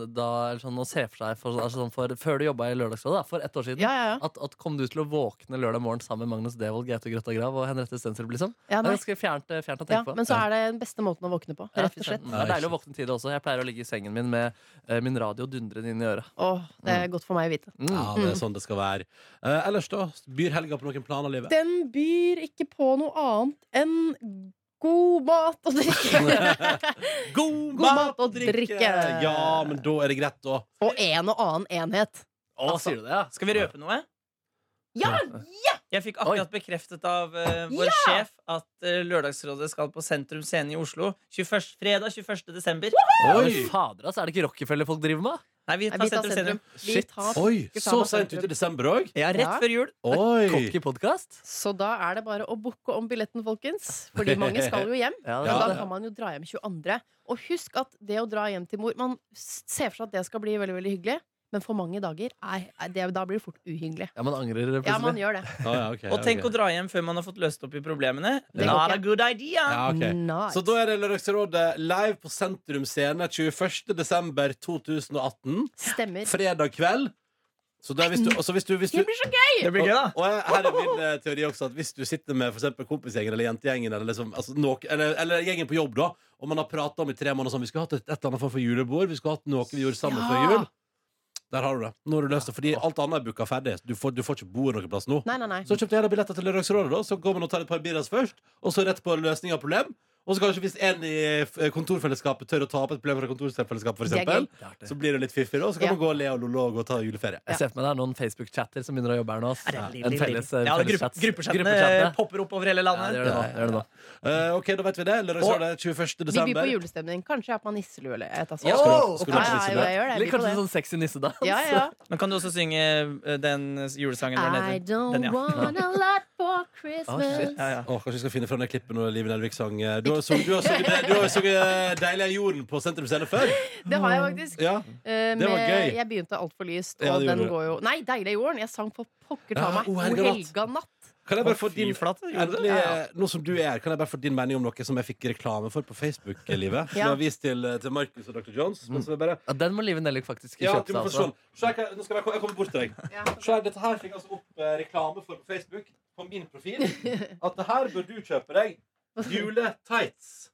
eh, da, eller sånn, å se for seg for, altså, sånn, for, Før du jobba i Lørdagsrådet, da, for ett år siden,
Ja, ja, ja.
At, at kom du til å våkne lørdag morgen sammen med Magnus Devold, Gaute Grøtta Grav og Henriette Stensrup? Liksom? Det
Ja,
er
nei.
ganske fjernt, eh, fjernt å tenke
Ja,
på.
men så er det den beste måten å våkne på.
Ja,
Rett
fy
og
søren.
slett.
Det er deilig å våkne tidlig også. Jeg pleier å ligge i sengen min med eh, min radio dundrende inn i øret.
Åh, det er godt for meg å vite.
Mm.
Ja, det er sånn det skal være. Eh, ellers, da? Byr helga på noen planer, livet?
Den byr ikke på noe annet enn god mat og drikke.
God,
God mat og drikke.
Ja, men da er det greit, da.
og en og annen enhet.
Å, sier du det, ja?
Skal vi røpe noe?
Ja!
Jeg fikk akkurat bekreftet av eh, vår sjef at eh, Lørdagsrådet skal på Sentrum Scene i Oslo 21, fredag 21. desember.
Oi. Fader, altså, er det ikke Rockefeller folk driver med?
Nei, vi tar
Vi tar
Sentrum
sentrum.
Scene.
Vi tar
Oi, så
Sentrum.
seint ute i desember òg?
Ja, rett
Ja.
før jul.
Oi!
Cocky podcast
Så da er det bare å booke om billetten, folkens. Fordi mange skal
[laughs]
jo hjem.
Ja, det er
Men da
det.
kan man jo dra hjem 22. Og husk at det å dra hjem til mor Man ser for seg at det skal bli veldig veldig hyggelig, men for mange dager er, er det, da blir det fort uhyggelig.
Ja, man angrer plutselig.
Ja, man gjør det.
Ah, ja, ok,
Og tenk
ok.
å dra hjem før man har fått løst opp i problemene.
Det går
Not
ikke.
a good idea.
ja, ok.
Nice.
Så da er det Lørdagsrådet live på Sentrum Scene 21. desember 2018.
Stemmer.
fredag kveld. Så da, hvis du, også hvis du, hvis du
Det blir så gøy!
Det blir gøy, da.
og jeg- her er min eh, teori også at Hvis du sitter med for eksempel kompisgjengen eller jentegjengen eller, liksom, altså, nok- eller, eller gjengen på jobb, da og man har prata om i tre måneder sånn, vi skulle hatt et, et eller annet form for julebord, vi skulle hatt noe vi gjorde sammen
Ja.
før jul Der har du det. Nå har du løst det, fordi alt annet er booka ferdig. Du får, du får ikke bo noe plass nå.
Nei, nei, nei.
Så kjøpte jeg da billetter til Lørdagsrådet, da. Så går man og tar et par birras først, og så rett på løsning av problem. Og så kanskje hvis en i eh, kontorfellesskapet tør å ta opp et problem fra kontorfellesskapet, for
Det er
eksempel,
Det er artig.
så blir det litt fiffig, da. Så kan
Ja.
man gå og le og lolo og gå og ta juleferie.
Jeg ser for meg det er noen Facebook-chatter som begynner å jobbe her nå. ass. En felles,
ja,
en
gruppe-
felles chat.
eh,
Gruppechattene
Gruppechattene.
popper opp over hele
Ja, det
landet.
gjør det nå. Det gjør det nå.
Eh, ok, da vet vi det. Lørdagsrådet 21.
Vi byr på
desember.
julestemning. Kanskje jeg har på meg nisselue eller et
Ja,
eller annet sånt.
Skal du- skal du
Ja,
ha på
ja,
nisselue?
ja, jeg gjør det. Jeg
Eller
byr på
kanskje
det.
sånn sexy nissedans?
Ja, ja.
Men kan du også synge eh, den julesangen? hva den
I
heter? Den,
don't
ja.
want a lot
Ah,
for Christmas.
[laughs] Ja, ja.
Åh, kanskje vi skal finne fram det klippet når Live Nelvik sang eh, Du har sunget, du har sunget, du har sunget Deilig er jorden på Sentrum Scene før.
Det har jeg faktisk.
Ja.
Eh,
Det var
med-
gøy.
Jeg begynte altfor lyst,
Ja,
og
det gjorde
den
du. Ah, oh,
går jo Nei, deilig er jorden! Jeg sang på pokker ta
Ja,
meg.
O
O
helga natt.
helga natt.
Kan jeg bare
Å,
få
fy
din
flate, gjorde du det?
endelig, eh,
Ja.
Nå som du er her, kan jeg bare få din mening om noe som jeg fikk reklame for på Facebook? Livet Som jeg
Ja.
har vist til, eh, til Markus og Dr. Jones.
Mm.
Men som jeg bare
Ja, den må Live Nellik faktisk
Ja,
kjøpe altså.
du må
seg.
få sånn. se den. Se
altså.
her, hva- Nå skal jeg, jeg komme bort til deg. Se her, dette her fikk jeg altså opp eh, reklame for på Facebook, på min
[laughs]
profil, at det her bør du kjøpe deg. Juletights.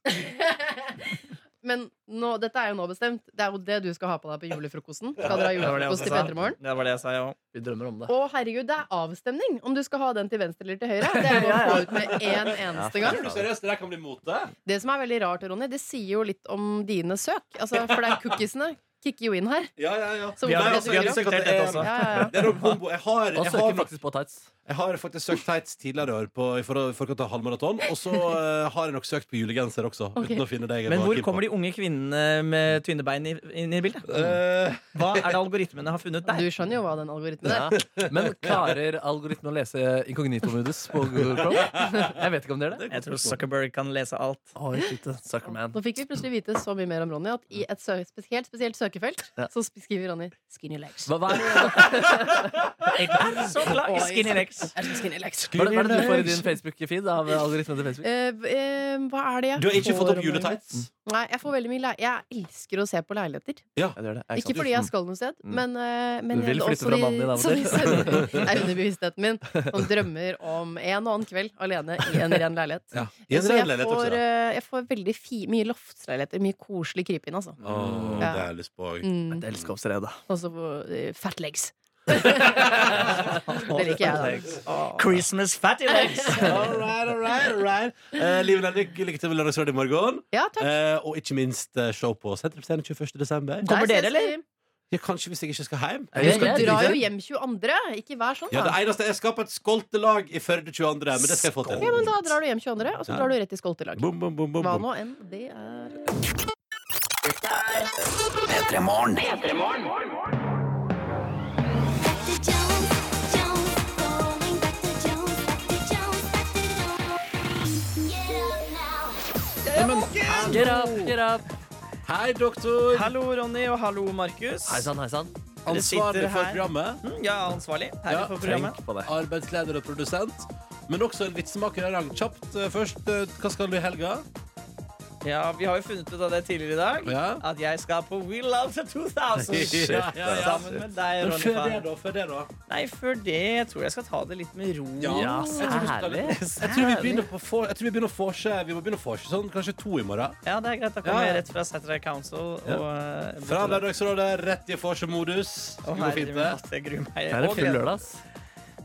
Men nå, dette er jo nå bestemt. Det er jo det du skal ha på deg på julefrokosten. Skal
Det var det
dere ha
jeg
julefrokost
også
til
sa.
Petremorgen?
Det var det jeg sa, ja.
Vi drømmer om
Å, herregud, det er avstemning om du skal ha den til venstre eller til høyre. Det er bare å få ut med en eneste gang.
Tror du seriøst det der kan bli mote?
Det som er veldig rart, Ronny, det sier jo litt om dine søk. Altså, for det er cookiesene kicker jo inn her.
Ja, ja, ja.
Så hvorfor er det så
vi har
greit?
diskutert dette også.
Ja, ja, ja.
Det er noe kombo. Jeg har,
Og
jeg
søker
har
faktisk på tights.
[laughs] Jeg har faktisk søkt tights tidligere i år på, i forhold- i forkant av halvmaraton. Og så eh, har jeg nok søkt på julegenser også.
Ok.
Uten å finne deg.
Men hvor kommer de unge kvinnene med tynne bein i- inn i bildet? Hva er det algoritmene har funnet der?
Du skjønner jo hva den algoritmen
Ja.
er.
Men klarer algoritmen å lese inkognito-modus på Google Chrome? Jeg vet ikke om det er det.
Jeg tror Zuckerberg kan lese alt.
Oi, shit, Zuckerman.
Nå fikk vi plutselig vite så mye mer om Ronny at i et sø spe- helt spesielt søkefelt
Ja.
så skriver Ronny 'skinny legs'.
Hva, hva er det,
Jeg er så glad i skinny legs.
Jeg er så skinny legs.
hva er det, hva er det du får i din Facebook-feed av algoritmen til Facebook?
Eh, eh, hva er det jeg
Du har ikke fått opp
får Mm. om dagen?
juletights?
Nei, jeg får veldig mye le Jeg elsker å se på leiligheter.
Ja.
Ikke fordi jeg skal noe sted, men, eh,
Mm.
men
Du vil
jeg-
flytte
også
fra
de-
mannen din av og
som
til.
de sender- Det er underbevisstheten min. Som drømmer om en og annen kveld alene i en ren leilighet.
Ja. [laughs] I en
Så
ren
jeg
leilighet
får,
også, ja.
eh, jeg får veldig fi, mye loftsleiligheter. Mye koselig krypinn, altså.
Å, det har jeg lyst på òg.
Mm.
Jeg elsker oppstredet.
Og så eh, fat legs. det liker jeg. da.
Christmas fatty
[laughs]
legs.
All right, all right, all right. Eh, Liv Nelvik, lykke til med Lørdagsrådet i morgen.
Ja, takk.
Eh, og ikke minst eh, show på Senterpartiet 21. desember.
Der
Kommer
ses
dere, eller?
vi.
Ja, kanskje hvis jeg ikke skal hjem.
Jeg
Du
skal
drar jo hjem 22. Ikke vær sånn,
Ja, det
da.
eneste Jeg skal på et skoltelag i Førde 22., men det skal jeg få til.
Ja, men da drar du hjem 22., og så
Ja.
drar du rett i skoltelag.
Bom, bom, bom, bom,
Hva
bom.
nå enn det er.
Petremorne.
Get up, get up.
Hei, doktor.
Hallo, Ronny, og hallo, Markus.
Hei sann, hei sann.
Dere sitter
Ansvarlig for
her.
programmet.
Mm, Jeg er ansvarlig her
Ja,
for programmet.
Tenk på det.
Arbeidsleder og produsent. Men også en vitsemaker av rang. Kjapt eh, først. eh, Hva skal du i helga?
Ja, Vi har jo funnet ut av det tidligere i dag
Ja.
at jeg skal på We Love the 2000
Shit, ja, ja, ja.
sammen med deg,
Men
Ronny.
før det,
Faen.
da? Før det, da?
Nei, før det jeg tror jeg skal ta det litt med ro.
Ja,
jeg tror-
Herlig.
Jeg tror vi begynner på for, Jeg tror vi begynner å forse Vi må begynne å forse sånn kanskje to i morgen.
ja det er greit.
Ja,
Da kommer
ja.
jeg rett fra Saturday Council. Og,
Ja.
eh,
Fra Lørdagsrådet, rett i forsemodus.
Å,
Skal gå
herre
fint,
min
det.
hatt, jeg gruer meg.
Det er en
Og
full
gleder-
lørdag. ass.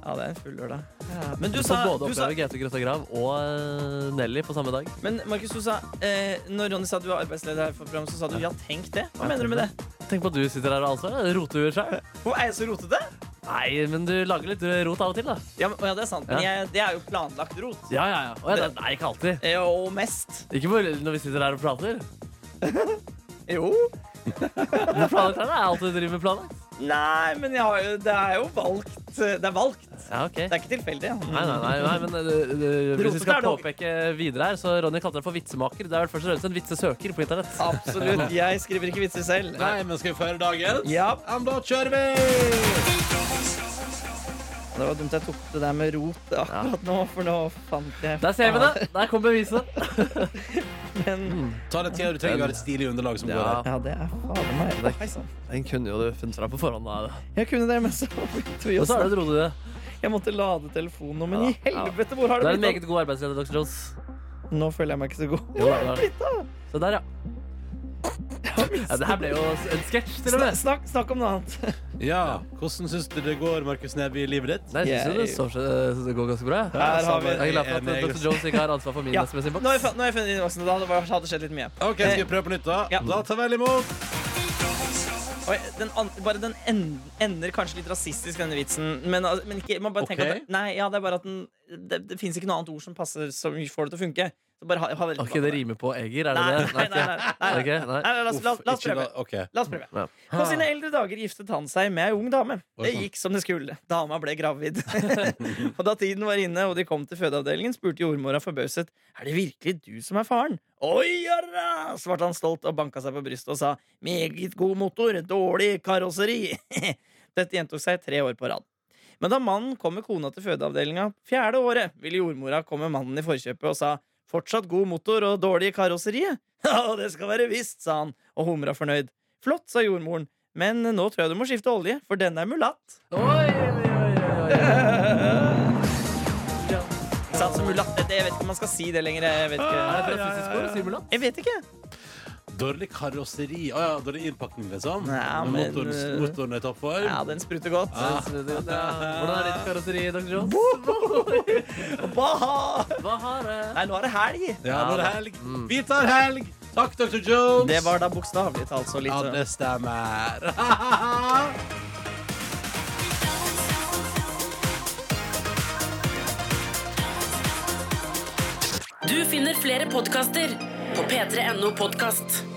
Ja, det er en full lørdag. Ja. Men du
Du får
sa,
både
du sa
oppleve Gaute Grøtta Grav og eh, Nelly på samme dag.
Men Markus, du sa eh, Når Ronny sa at du var arbeidsleder her for programmet, så sa du ja, tenk det. Hva mener du med det?
Tenk på at du sitter her og altså roter du sjøl.
Hvor er jeg så rotete?
Nei, men du lager litt rot av og til, da.
Ja, men, ja det er sant, men
Ja.
jeg, det er jo planlagt rot.
Ja, ja, ja. Å, ja det, nei, ikke alltid.
Eh, Og mest.
Ikke bare når vi sitter her og prater.
Jo.
Men planlagt er det alt du driver med planlagt.
Nei, men jeg har, jo- det er jo valgt. Det er valgt.
Ja, ok.
Det er ikke tilfeldig. ja.
Nei, nei, nei, nei, men eh, det- det-
Rotet
hvis vi skal
er det-
påpeke videre her, så Ronny kalte deg for vitsemaker. Det er vel først og fremst en vitsesøker på internett.
Absolutt. [laughs] Jeg skriver ikke vitser selv.
Nei, men skal vi få høre dagen?
Ja,
Ja, men da kjører vi!
Det var dumt jeg tok det der med rot akkurat nå, for nå fant jeg
Der ser vi det! Mm. Der kom bevisene.
Men,
Ta den tida du trenger. Vi har et stilig underlag som går her.
Ja,
ja, det er fader meg. Å, hei sann.
Den kunne jo du funnet fram på forhånd. Da.
Jeg kunne det, [laughs] men så begynte vi
Og
å
så er det et rolig det.
snakke. Jeg måtte lade telefonen, men i
Ja.
helvete, hvor har
Du
det
er en
blitt av?
meget god arbeidsleder, Dr. Jones.
Nå føler jeg meg ikke så god.
Jo, da, da. Se der, ja. ja. Det her ble jo en sketsj, til og
Snak,
med.
snakk, snakk om noe annet.
Ja, Hvordan syns du det går, Markus Neby, i livet ditt?
Nei, jeg synes jo det, står seg, det går ganske bra. jeg.
Her har vi eh,
Jeg er glad for at Dr. Jones ikke har ansvar for min
Ja.
SMS-innboks.
Nå har jeg fun- nå har jeg funnet innboksen. Da hadde det vært- hadde skjedd litt mye.
OK, skal vi prøve på nytt, da?
Ja.
Da tar vel imot.
Oi, den an bare den en ender kanskje litt rasistisk, denne vitsen. Men, al- men ikke, man bare tenker
Ok.
at det, nei, ja, det er bare at den Det, det fins ikke noe annet ord som passer som får det til å funke. Så bare ha, ha veldig-
Ok, det rimer på Eger, er det
Nei,
det?
nei, nei. nei, nei, nei, nei.
Ok, nei.
Nei, nei, la, oss- la,
Uff,
la oss
ikke
prøve.
da- OK.
La oss prøve.
Ja. sånn.
På sine eldre dager giftet han seg med ei ung dame.
Oi,
Det
sant.
gikk som det skulle. Dama
[laughs]
ble gravid. og da tiden var inne og de kom til fødeavdelingen, spurte jordmora forbauset Er det virkelig du som er faren. Oi, jarra! svarte han stolt og banka seg på brystet og sa [laughs] meget god motor, dårlig karosseri. Dette gjentok seg tre år på rad. Men da mannen kom med kona til fødeavdelinga fjerde året, ville jordmora komme mannen i forkjøpet og sa fortsatt god motor og dårlig i karosseriet. [laughs] Ja, det skal være visst, sa han og humra fornøyd. Flott, sa jordmoren, men nå tror jeg du må skifte olje, for den er mulatt. Satt som mulatt, vet du. jeg vet ikke om man skal si det lenger. Jeg vet ikke.
Er det fra siste skole, sier mulatt?
Jeg vet ikke.
Dårlig karosseri. Å ja, dårlig innpakning, liksom.
Ja,
Men
men,
motoren,
eh,
motoren er i toppform.
Ja, den spruter godt.
Ah.
Hvordan er ditt karosseri, Dr. Jones?
Baha! Nei, nå er det helg. Mm.
Ja, nå er det helg. Vi tar helg! Takk, Dr. Jones.
Det var da bokstavelig talt så lite.
Ja, det stemmer. [laughs]
Du finner flere podkaster på p3.no podkast.